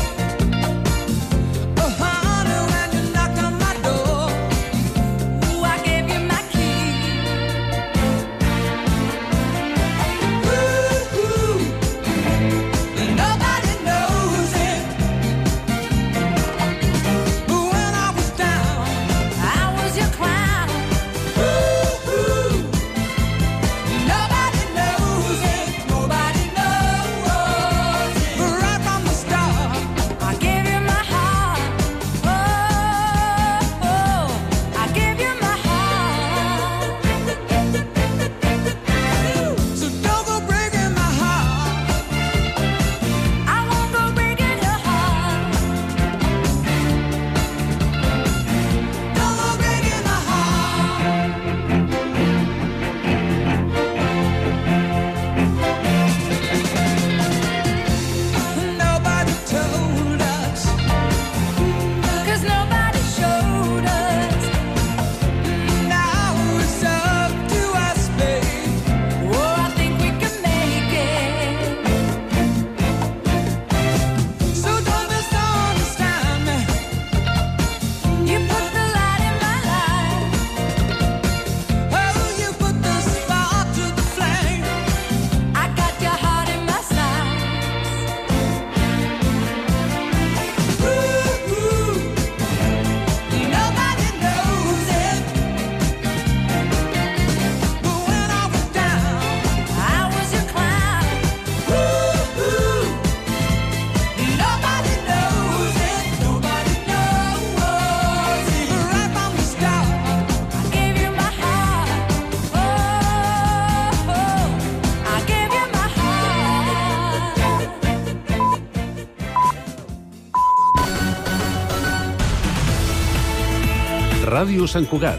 K: Oh,
E: oh, Oh,
H: Oh.
E: Oh,
C: Ràdio Sant Cugat,